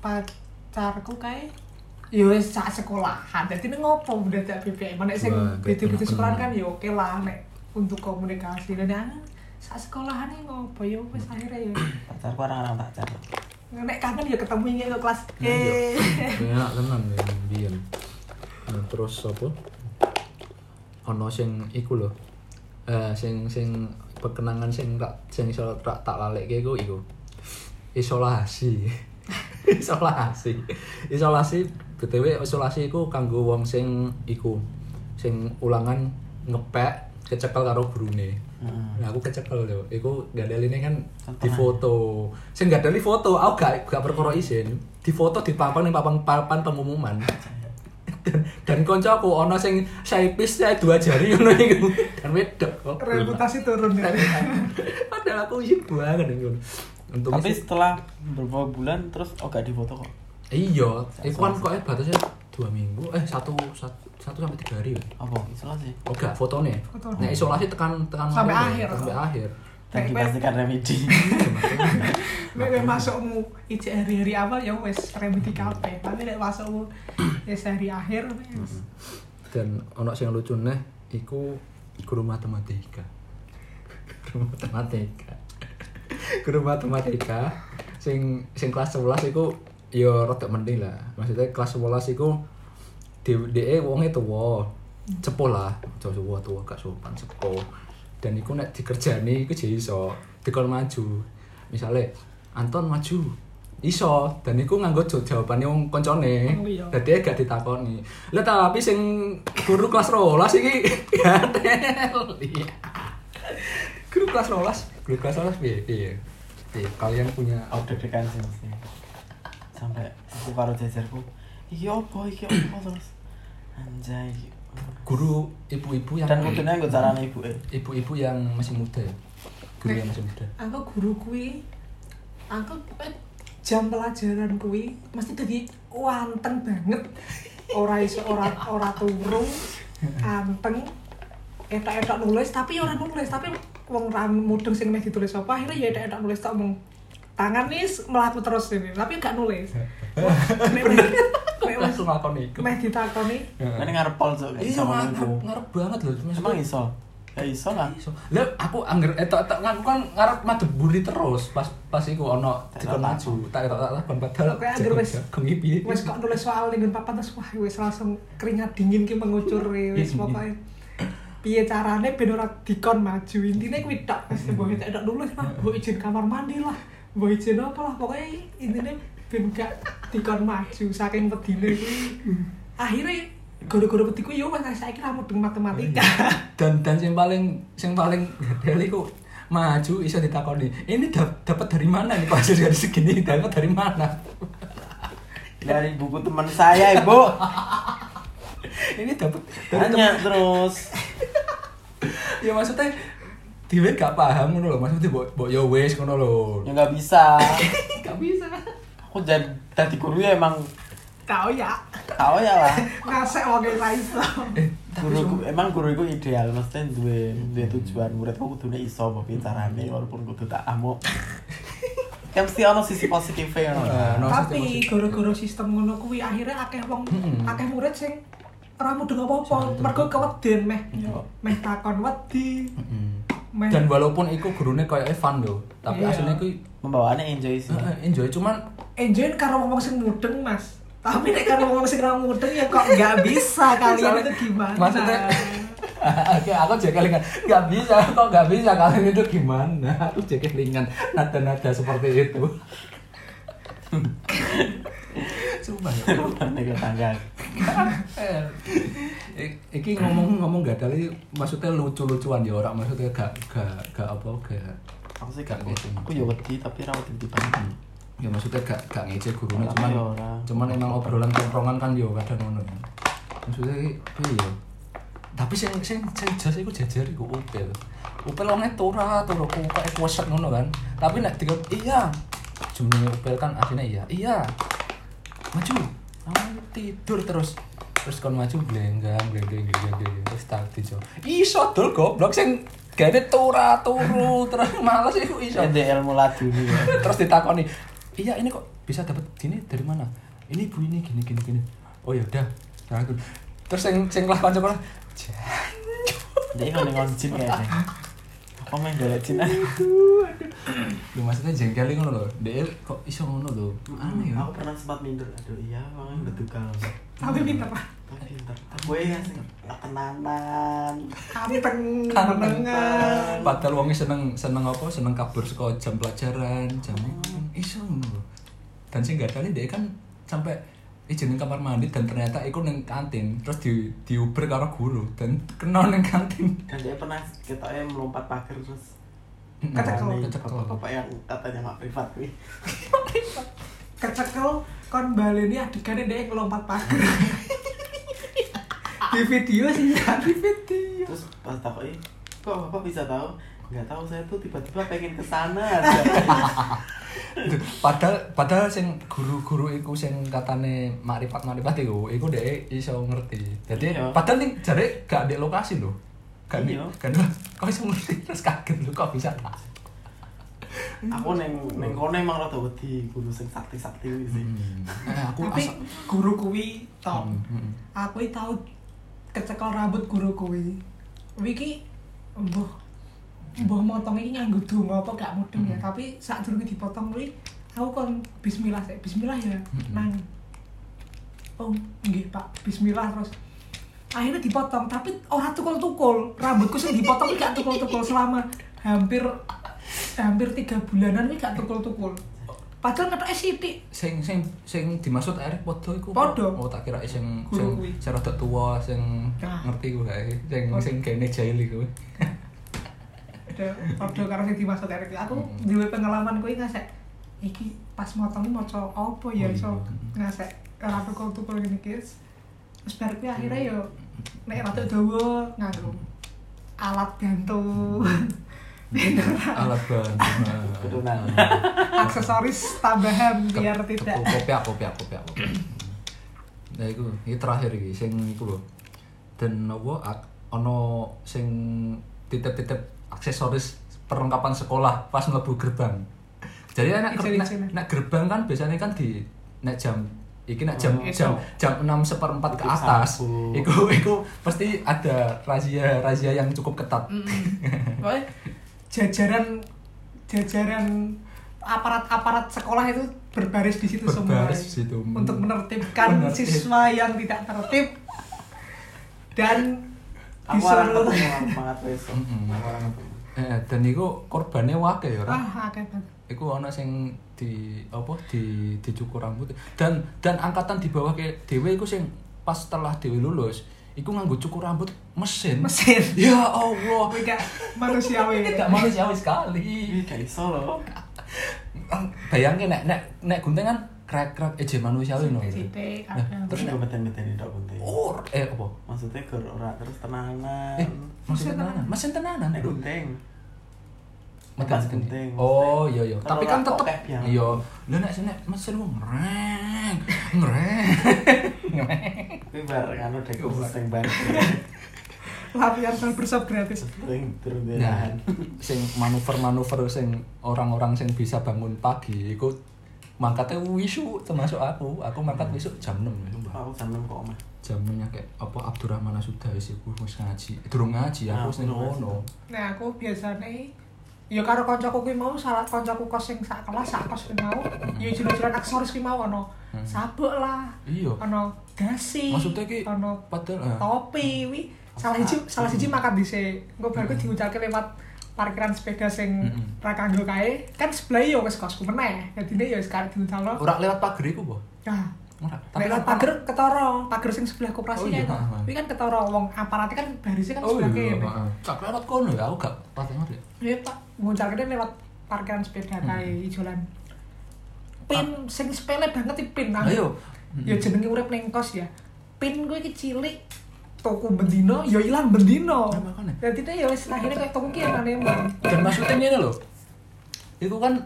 Speaker 3: pacarku kae yo wis sak sekolahan dadi nek ngopo udah tak BBM nek sing
Speaker 1: Wah, kayak
Speaker 3: beda-beda
Speaker 1: kena-kena.
Speaker 3: sekolahan kan yo oke lah nek untuk komunikasi dan yang sak sekolahan ini ngopo yo wis akhirnya yo
Speaker 2: Pacarku orang-orang tak jar.
Speaker 3: nek kangen yo ketemu ini ke kelas
Speaker 1: Iya.
Speaker 3: eh
Speaker 1: enak tenan ya biyen nah, terus apa ono sing iku lho eh sing sing perkenangan sing tak sing iso tak tak lalekke iku iku isolasi isolasi isolasi btw isolasi iku kanggo wong sing iku sing ulangan ngepek kecekel karo gurune
Speaker 2: Heeh.
Speaker 1: Nah, aku kecekel yo. Iku gadeline kan
Speaker 2: Contohan.
Speaker 1: di foto. Sing gadeli foto, aku gak gak perkara izin. Di foto di pampang ning papan papan pengumuman. dan, dan konco aku ono sing saya pis saya dua jari ngono iku. Dan wedok kok.
Speaker 3: reputasi turun ya
Speaker 1: Padahal aku izin banget ngono. Untungnya
Speaker 2: Tapi
Speaker 1: sih-
Speaker 2: setelah beberapa bulan terus oh gak difoto kok.
Speaker 1: Iya, itu kan kok batasnya dua minggu, eh satu satu, satu sampai tiga hari. ya.
Speaker 2: Apa isolasi?
Speaker 1: Oh enggak, fotonya.
Speaker 3: Foto.
Speaker 1: Nah isolasi tekan tekan
Speaker 3: Sampai
Speaker 1: mana,
Speaker 3: akhir.
Speaker 1: Sampai akhir.
Speaker 2: Dan
Speaker 3: Kayak
Speaker 2: dipastikan remedi.
Speaker 3: Nek nek masukmu ijek hari-hari awal ya wis remedi kabeh. Tapi nek masukmu wis hari akhir wis.
Speaker 1: Dan ono sing lucu nih, iku guru matematika. Guru matematika. guru matematika sing sing kelas 11 iku ya rada mending lah. Maksudnya kelas 11 iku dheweke wonge tuwa. Cepo lah, jauh tuwa tuwa gak sopan cepo. Dan iku nek dikerjani iku jadi iso dikon maju. Misalnya Anton maju iso dan iku nganggo jo- jawabane wong koncone.
Speaker 3: Oh iya.
Speaker 1: Dadi gak ditakoni. Lah tapi sing guru kelas 12 iki gatel. Guru kelas 12, Oh, iya. guru kelas 12 piye? Piye? Piye? Kalian punya
Speaker 2: Aku Oh, deg-degan sih mesti. Sampai aku karo jajarku, iki opo iki opo terus. Anjay. iki apa?
Speaker 1: guru ibu-ibu yang
Speaker 2: Dan kudune nggo carane ibuke.
Speaker 1: ibu-ibu yang masih muda. ya? Guru yang masih muda.
Speaker 3: Aku guru kuwi aku eh, jam pelajaran kuwi mesti dadi wanteng banget. Ora iso ora ora turung, anteng. Etak-etak nulis tapi ya ora nulis, tapi wong ra mudeng sing meh ditulis apa akhirnya ya etak-etak nulis tak mung tangan nih melaku terus ini tapi gak nulis. Wah, nek- nek- nek-
Speaker 1: Langsung ngakoni iku.
Speaker 3: meh ditakoni
Speaker 2: Kan ngarep pol so gak
Speaker 1: Iya,
Speaker 2: iso ngono iku.
Speaker 1: ngarep ngarep banget loh.
Speaker 2: Emang iso. Ya iso lah.
Speaker 1: iso. Lah aku angger etok etok aku kan ngarep madeburi terus pas pas iku ono
Speaker 2: Tak
Speaker 1: dikon
Speaker 2: tak
Speaker 1: maju tak etok tak laban padahal
Speaker 3: Oke, angger wis.
Speaker 1: gengi piye.
Speaker 3: wes kok nulis soal dengan papan terus wah wes langsung keringat dingin ki mengucur e, wes pokoknya piye carane ben ora dikon maju intine kuwi tok wis mbok entek tok nulis lah mbok izin kamar mandi lah mbok izin apa lah pokoknya intine ben gak dikon maju saking pedine kuwi akhirnya gara-gara peti kuwi yo mas saiki ra mudeng matematika
Speaker 1: Dan dan sing paling sing paling gadel iku maju iso ditakoni. Ini dap- dapat dari mana nih kok hasil dari segini dapat dari mana?
Speaker 2: Dari buku teman saya, Ibu.
Speaker 1: Ini dapat dari tem-
Speaker 2: Tanya terus.
Speaker 1: ya maksudnya Dewe gak paham ngono lho, maksudnya mbok mbok yo wis ngono lho.
Speaker 2: Ya nggak bisa.
Speaker 3: gak bisa
Speaker 2: Aku jadi tadi guru ya emang
Speaker 3: tau ya
Speaker 2: tau ya lah.
Speaker 3: ngasek wong e ra iso
Speaker 1: Eh,
Speaker 2: Guru emang guru itu ideal mesti duwe duwe tujuan muridku kudune iso apa piye carane walaupun kudu tak amuk. Kan mesti ono sisi positifnya ngono.
Speaker 1: Eh, no,
Speaker 3: tapi
Speaker 1: maksudnya-
Speaker 3: gara-gara sistem ngono kuwi akhirnya akeh wong
Speaker 1: Mm-mm.
Speaker 3: akeh murid sing ora mudeng
Speaker 1: Ora
Speaker 3: apa-apa
Speaker 1: mudeng
Speaker 3: mergo keweden meh
Speaker 2: Iya.
Speaker 3: meh takon wedi
Speaker 1: Mm-mm.
Speaker 3: meh
Speaker 1: Dan walaupun iku gurune koyoke fun lho, tapi
Speaker 3: Iya.
Speaker 1: aslinya iku
Speaker 2: Membawaannya enjoy sih.
Speaker 1: eh, enjoy cuman
Speaker 3: enjoy karo wong sing mudeng Mas tapi nek karo wong sing ora mudeng ya kok nggak bisa kalian itu gimana
Speaker 1: Maksudnya- Oke, aku jekelingan. Nggak bisa, kok nggak bisa kalian itu gimana? Aku jekelingan nada-nada seperti itu. Coba ya.
Speaker 2: Nih tetangga.
Speaker 1: I- Eh, Iki ngomong-ngomong gak ada maksudnya lucu-lucuan ya orang maksudnya gak gak gak apa gak
Speaker 2: Aku sih gak Hmm. Aku ya wedi tapi ra wedi banget.
Speaker 1: ya maksudnya gak gak ngejek gurunya
Speaker 2: Orang
Speaker 1: cuman
Speaker 2: ya orang.
Speaker 1: cuman emang obrolan tongkrongan kan yo kadang ngono ya. maksudnya iya ya tapi sing sing sing jas iku jejer iku upil upil wonge tora tora kok kayak kuaset ngono kan tapi nek tiga iya jenenge upil kan aslinya iya iya maju kamu tidur terus terus kon maju blenggang blenggang blenggang blenggang terus tak dijawab iso dol goblok sing gane tora turu terus males iku iso
Speaker 2: Ini ilmu laduni ya.
Speaker 1: terus ditakoni iya ini kok bisa dapat gini dari mana ini ibu ini gini gini gini oh ya udah nah, aku- terus yang yang lah kanca kanca
Speaker 2: Dia kan dengan jin kayaknya. Apa main golek jin? ah?
Speaker 1: lu maksudnya jengkel ngono loh dia kok iso ngono loh aneh ya
Speaker 2: Aku pernah sempat minder. Aduh iya, emang betukal.
Speaker 3: tapi pinter Pak.
Speaker 2: Tapi pinter. Gue ya sing tenanan.
Speaker 3: Kanteng,
Speaker 1: Kanteng.
Speaker 3: menengan.
Speaker 1: padahal wongnya seneng seneng apa seneng kabur sekolah jam pelajaran jam iso ngono loh dan sing gak kali dia kan sampai izin neng kamar mandi dan ternyata ikut neng kantin terus di diuber karo guru dan kena neng kantin
Speaker 2: Dan dia pernah ketoknya melompat pagar terus.
Speaker 3: Kecekel.
Speaker 1: Kecekel.
Speaker 2: Bapak yang katanya mak privat nih.
Speaker 3: kecekel kon baleni adegannya dia ngelompat pagar di video sih kan di video
Speaker 2: Terus pas takoi, kok bapak bisa tahu? nggak tahu saya tuh tiba-tiba pengen ke sana aja.
Speaker 1: padahal padahal sing guru-guru iku sing katane makrifat-makrifat iku iku dhek iso ngerti. Dadi
Speaker 2: Iya.
Speaker 1: padahal ning jare gak di lokasi lho. Gak di
Speaker 2: Iya.
Speaker 1: gak di- kok iso ngerti terus kaget lho kok bisa tak.
Speaker 2: aku neng neng kono emang rada wedi guru sing sakti-sakti kuwi sih
Speaker 3: Hmm.
Speaker 1: Eh, aku
Speaker 3: tapi
Speaker 1: asa-
Speaker 3: guru kuwi tok
Speaker 1: Hmm, hmm.
Speaker 3: aku iki tau kecekel rambut guru kuwi wiki mbuh mbuh motong iki nganggo donga apa gak mudeng ya tapi saat durunge dipotong kuwi aku kon bismillah sik bismillah ya nang oh nggih Pak bismillah terus akhirnya dipotong tapi orang tukul-tukul rambutku sing dipotong iki gak tukul-tukul selama hampir hampir tiga bulanan ini gak tukul-tukul padahal ketoknya sithik
Speaker 1: sing sing sing dimaksud arek padha iku
Speaker 3: Padha.
Speaker 1: oh tak kira sing sing
Speaker 3: Guru kuwi.
Speaker 1: sing rada tua sing
Speaker 3: Ah.
Speaker 1: ngerti ku ae sing
Speaker 3: Oh.
Speaker 1: sing gene jahil iku
Speaker 3: ada ada karo sing dimaksud Erik aku
Speaker 1: Mm-hmm.
Speaker 3: duwe pengalaman kuwi ngasek iki pas motong maca apa ya
Speaker 1: Oh,
Speaker 3: iso
Speaker 1: iya.
Speaker 3: ngasek ora tukul tukul ngene iki terus bar kuwi akhirnya yo
Speaker 1: Mm-hmm.
Speaker 3: nek rada dawa nganggo alat bantu
Speaker 1: alat bantu
Speaker 2: Keturunan.
Speaker 3: aksesoris tambahan
Speaker 1: Ke-
Speaker 3: biar
Speaker 1: ke-
Speaker 3: tidak
Speaker 1: kopiak kopiak kopiak kopiak. nah iku iki terakhir iki sing iku lho dan apa ak- ono sing titip-titip aksesoris perlengkapan sekolah pas mlebu gerbang jadi anak ger-
Speaker 3: Ijen-ijen.
Speaker 1: nek- nek gerbang kan biasanya kan di nek jam iki nek jam
Speaker 3: Oh,
Speaker 1: jam jam enam seperempat ke atas
Speaker 2: Sapu.
Speaker 1: iku iku pasti ada razia razia yang cukup ketat
Speaker 3: pokoknya jajaran jajaran aparat-aparat sekolah itu berbaris di situ semua ya.
Speaker 1: Berbaris di situ. Hmm.
Speaker 3: untuk menertibkan
Speaker 1: Menertib.
Speaker 3: siswa yang tidak tertib dan
Speaker 2: aku orang
Speaker 3: disuruh
Speaker 2: ketemu semangat besok
Speaker 1: Mm-mm.
Speaker 2: Aku orang ketemu.
Speaker 1: eh, dan iku korbannya wakil ya Ra?
Speaker 3: ah akeh banget
Speaker 1: Iku ana sing di apa di dicukur rambut dan dan angkatan di bawah ke dhewe iku sing pas setelah dhewe lulus iku nganggo cukur rambut mesin.
Speaker 3: mesin
Speaker 1: Ya Allah.
Speaker 3: Kuwi gak manusiawi
Speaker 1: Tidak manusiawi sekali.
Speaker 2: Ih, gak iso loh
Speaker 1: Bayangin nek nek nek gunting kan krek-krek eje manusiawi no.
Speaker 3: Sithik,
Speaker 1: Nah,
Speaker 3: kadang.
Speaker 1: terus
Speaker 2: terus nggak beten beten tidak penting
Speaker 1: Or eh apa?
Speaker 2: maksudnya gur ora terus tenanan
Speaker 1: Eh, mesin tenanan, mesin tenanan.
Speaker 2: nek gunting
Speaker 1: Megang
Speaker 2: Pas
Speaker 1: gini.
Speaker 2: gunting.
Speaker 1: Oh, iya iya.
Speaker 2: Kalau
Speaker 1: Tapi kan
Speaker 2: laptop
Speaker 1: tetep
Speaker 2: kayak biang.
Speaker 1: iya. Lho nek sini mesin wong ngreng. Ngreng. Ngreng.
Speaker 2: kuwi bar kan udah kursus
Speaker 1: Ora.
Speaker 2: sing bar
Speaker 3: latihan barbershop gratis
Speaker 2: sing terus
Speaker 1: Nah,
Speaker 2: dirahan
Speaker 1: sing manuver-manuver sing orang-orang sing bisa bangun pagi iku mangkatnya wisu termasuk aku. Aku mangkat wisu jam 6 itu, Mbak.
Speaker 2: aku sampe kok omah
Speaker 1: Jamnya kayak apa Abdurrahman sudah wis iku wis ngaji. Eh, Durung ngaji aku
Speaker 2: Nah,
Speaker 1: wis ning
Speaker 2: aku durung
Speaker 1: kono.
Speaker 3: nah aku biasanya ya karo koncoku kuwi mau salah koncoku kos sing sak kelas sak kos kuwi mau ya jero-jero aksesoris kuwi mau ono
Speaker 1: Hmm.
Speaker 3: sabuk lah
Speaker 1: Iya.
Speaker 3: ono dasi
Speaker 1: Maksudnya ki
Speaker 3: ono Oh.
Speaker 1: padahal eh,
Speaker 3: topi wi salah siji salah siji makan dhisik engko bar ku diucalke lewat parkiran sepeda sing
Speaker 1: Mm-mm.
Speaker 3: ra kanggo kae kan sebelah yo wis kosku meneh dadine yo wis karep diucalno
Speaker 1: ora lewat pager iku, Mbak.
Speaker 3: nah
Speaker 1: Ora.
Speaker 3: Nek lewat pager ketara, pager sing sebelah
Speaker 1: Oh,
Speaker 3: koperasi
Speaker 1: iya,
Speaker 3: kan.
Speaker 1: ha, ha.
Speaker 3: Kuwi kan ketara wong aparate kan barisnya kan
Speaker 1: Oh
Speaker 3: sebelah
Speaker 1: iya,
Speaker 3: kene.
Speaker 1: heeh. Cak lewat kono ya, aku gak paten ngerti.
Speaker 3: Iya, Pak. Ngucalke lewat parkiran sepeda kae ijolan. Pin sing sepele banget iki pin. Nah,
Speaker 1: Ayo.
Speaker 3: ya jenenge urip ning kos ya pin gue iki cilik toko bendino ya ilang bendino
Speaker 1: Nah, makanya.
Speaker 3: jadi itu ya wis akhirnya kayak toko ki yang aneh
Speaker 1: dan maksudnya ini loh itu kan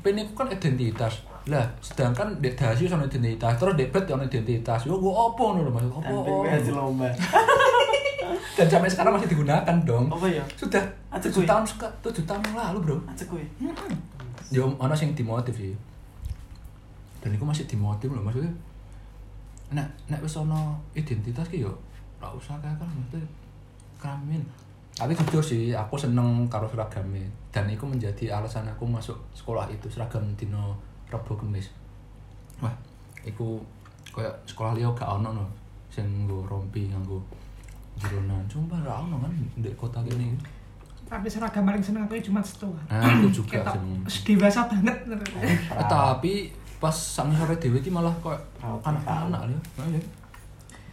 Speaker 1: pin itu kan identitas lah sedangkan dek dasi sama identitas terus dek bet sama identitas yo gue opo nih loh maksud
Speaker 2: dan
Speaker 1: opo
Speaker 2: pengen aja lomba
Speaker 1: dan sampai sekarang masih digunakan dong
Speaker 2: apa ya
Speaker 1: sudah
Speaker 2: Aduh,
Speaker 1: tujuh
Speaker 2: kuy.
Speaker 1: tahun suka tujuh tahun yang lalu bro
Speaker 2: aja kuwi
Speaker 1: yo ono sing dimotif sih dan itu masih dimotif loh maksudnya nek nek wis ono identitas ki yo ora usah kae kan mesti keramin tapi jujur sih aku seneng karo seragamnya dan itu menjadi alasan aku masuk sekolah itu seragam dino Rebo Kemis wah iku kayak sekolah liya gak ono no sing nggo rompi nganggo jeronan sumpah ra ono kan ndek kota kene
Speaker 3: tapi seragam paling seneng aku ya cuma setu
Speaker 1: nah aku juga
Speaker 3: ketok
Speaker 1: seneng
Speaker 3: wis dewasa banget
Speaker 1: Eh, tapi pas sang sore dewe ki malah koyo
Speaker 2: Raut
Speaker 1: anak-anak lho. Oh, Iya.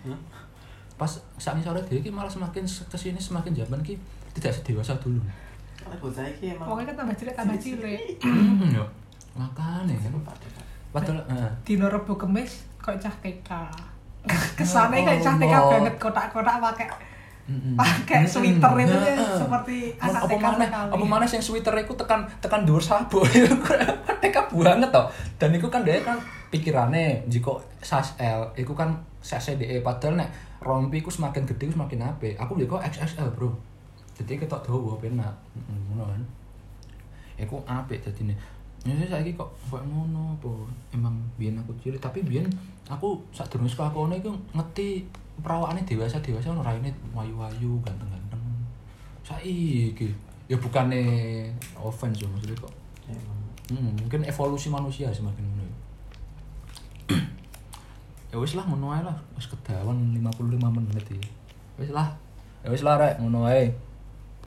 Speaker 2: Hah?
Speaker 1: Pas sang sore dewe ki malah semakin se- kesini semakin zaman ki tidak sedewasa dulu.
Speaker 2: karena bocah iki emang
Speaker 3: pokoknya kan tambah cilik tambah cilik
Speaker 1: Yo. Makane kan. Padahal eh.
Speaker 3: dino rebo kemis kok cah TK kesannya
Speaker 1: Ya
Speaker 3: kayak cah TK
Speaker 1: Allah.
Speaker 3: banget kotak-kotak pakai pakai Ah, sweater itu
Speaker 1: Heeh.
Speaker 3: ya, seperti
Speaker 1: Mun Nah, eh.
Speaker 3: anak
Speaker 1: apa
Speaker 3: TK
Speaker 1: mana
Speaker 3: sekali.
Speaker 1: apa mana sing sweater iku tekan tekan dhuwur sabo iku TK banget to dan iku kan dia kan pikirane jika size L iku kan size DE padahal nek rompi iku semakin gede iku semakin apik aku jika XXL bro jadi ketok dawa penak Heeh, ngono kan iku apik dadine Ya saiki kok kok ngono apa emang biyen aku cilik tapi biyen aku sadurunge sekolah kono iku ngerti perawakane dewasa-dewasa ono raine wayu-wayu ganteng-ganteng. Saiki ya bukane offense yo maksudnya kok. Hmm, mungkin evolusi manusia semakin ngono. ya. ya wis lah ngono ae lah, wis kedawan 55 menit iki. Wis lah. Ya wis lah rek ngono ae.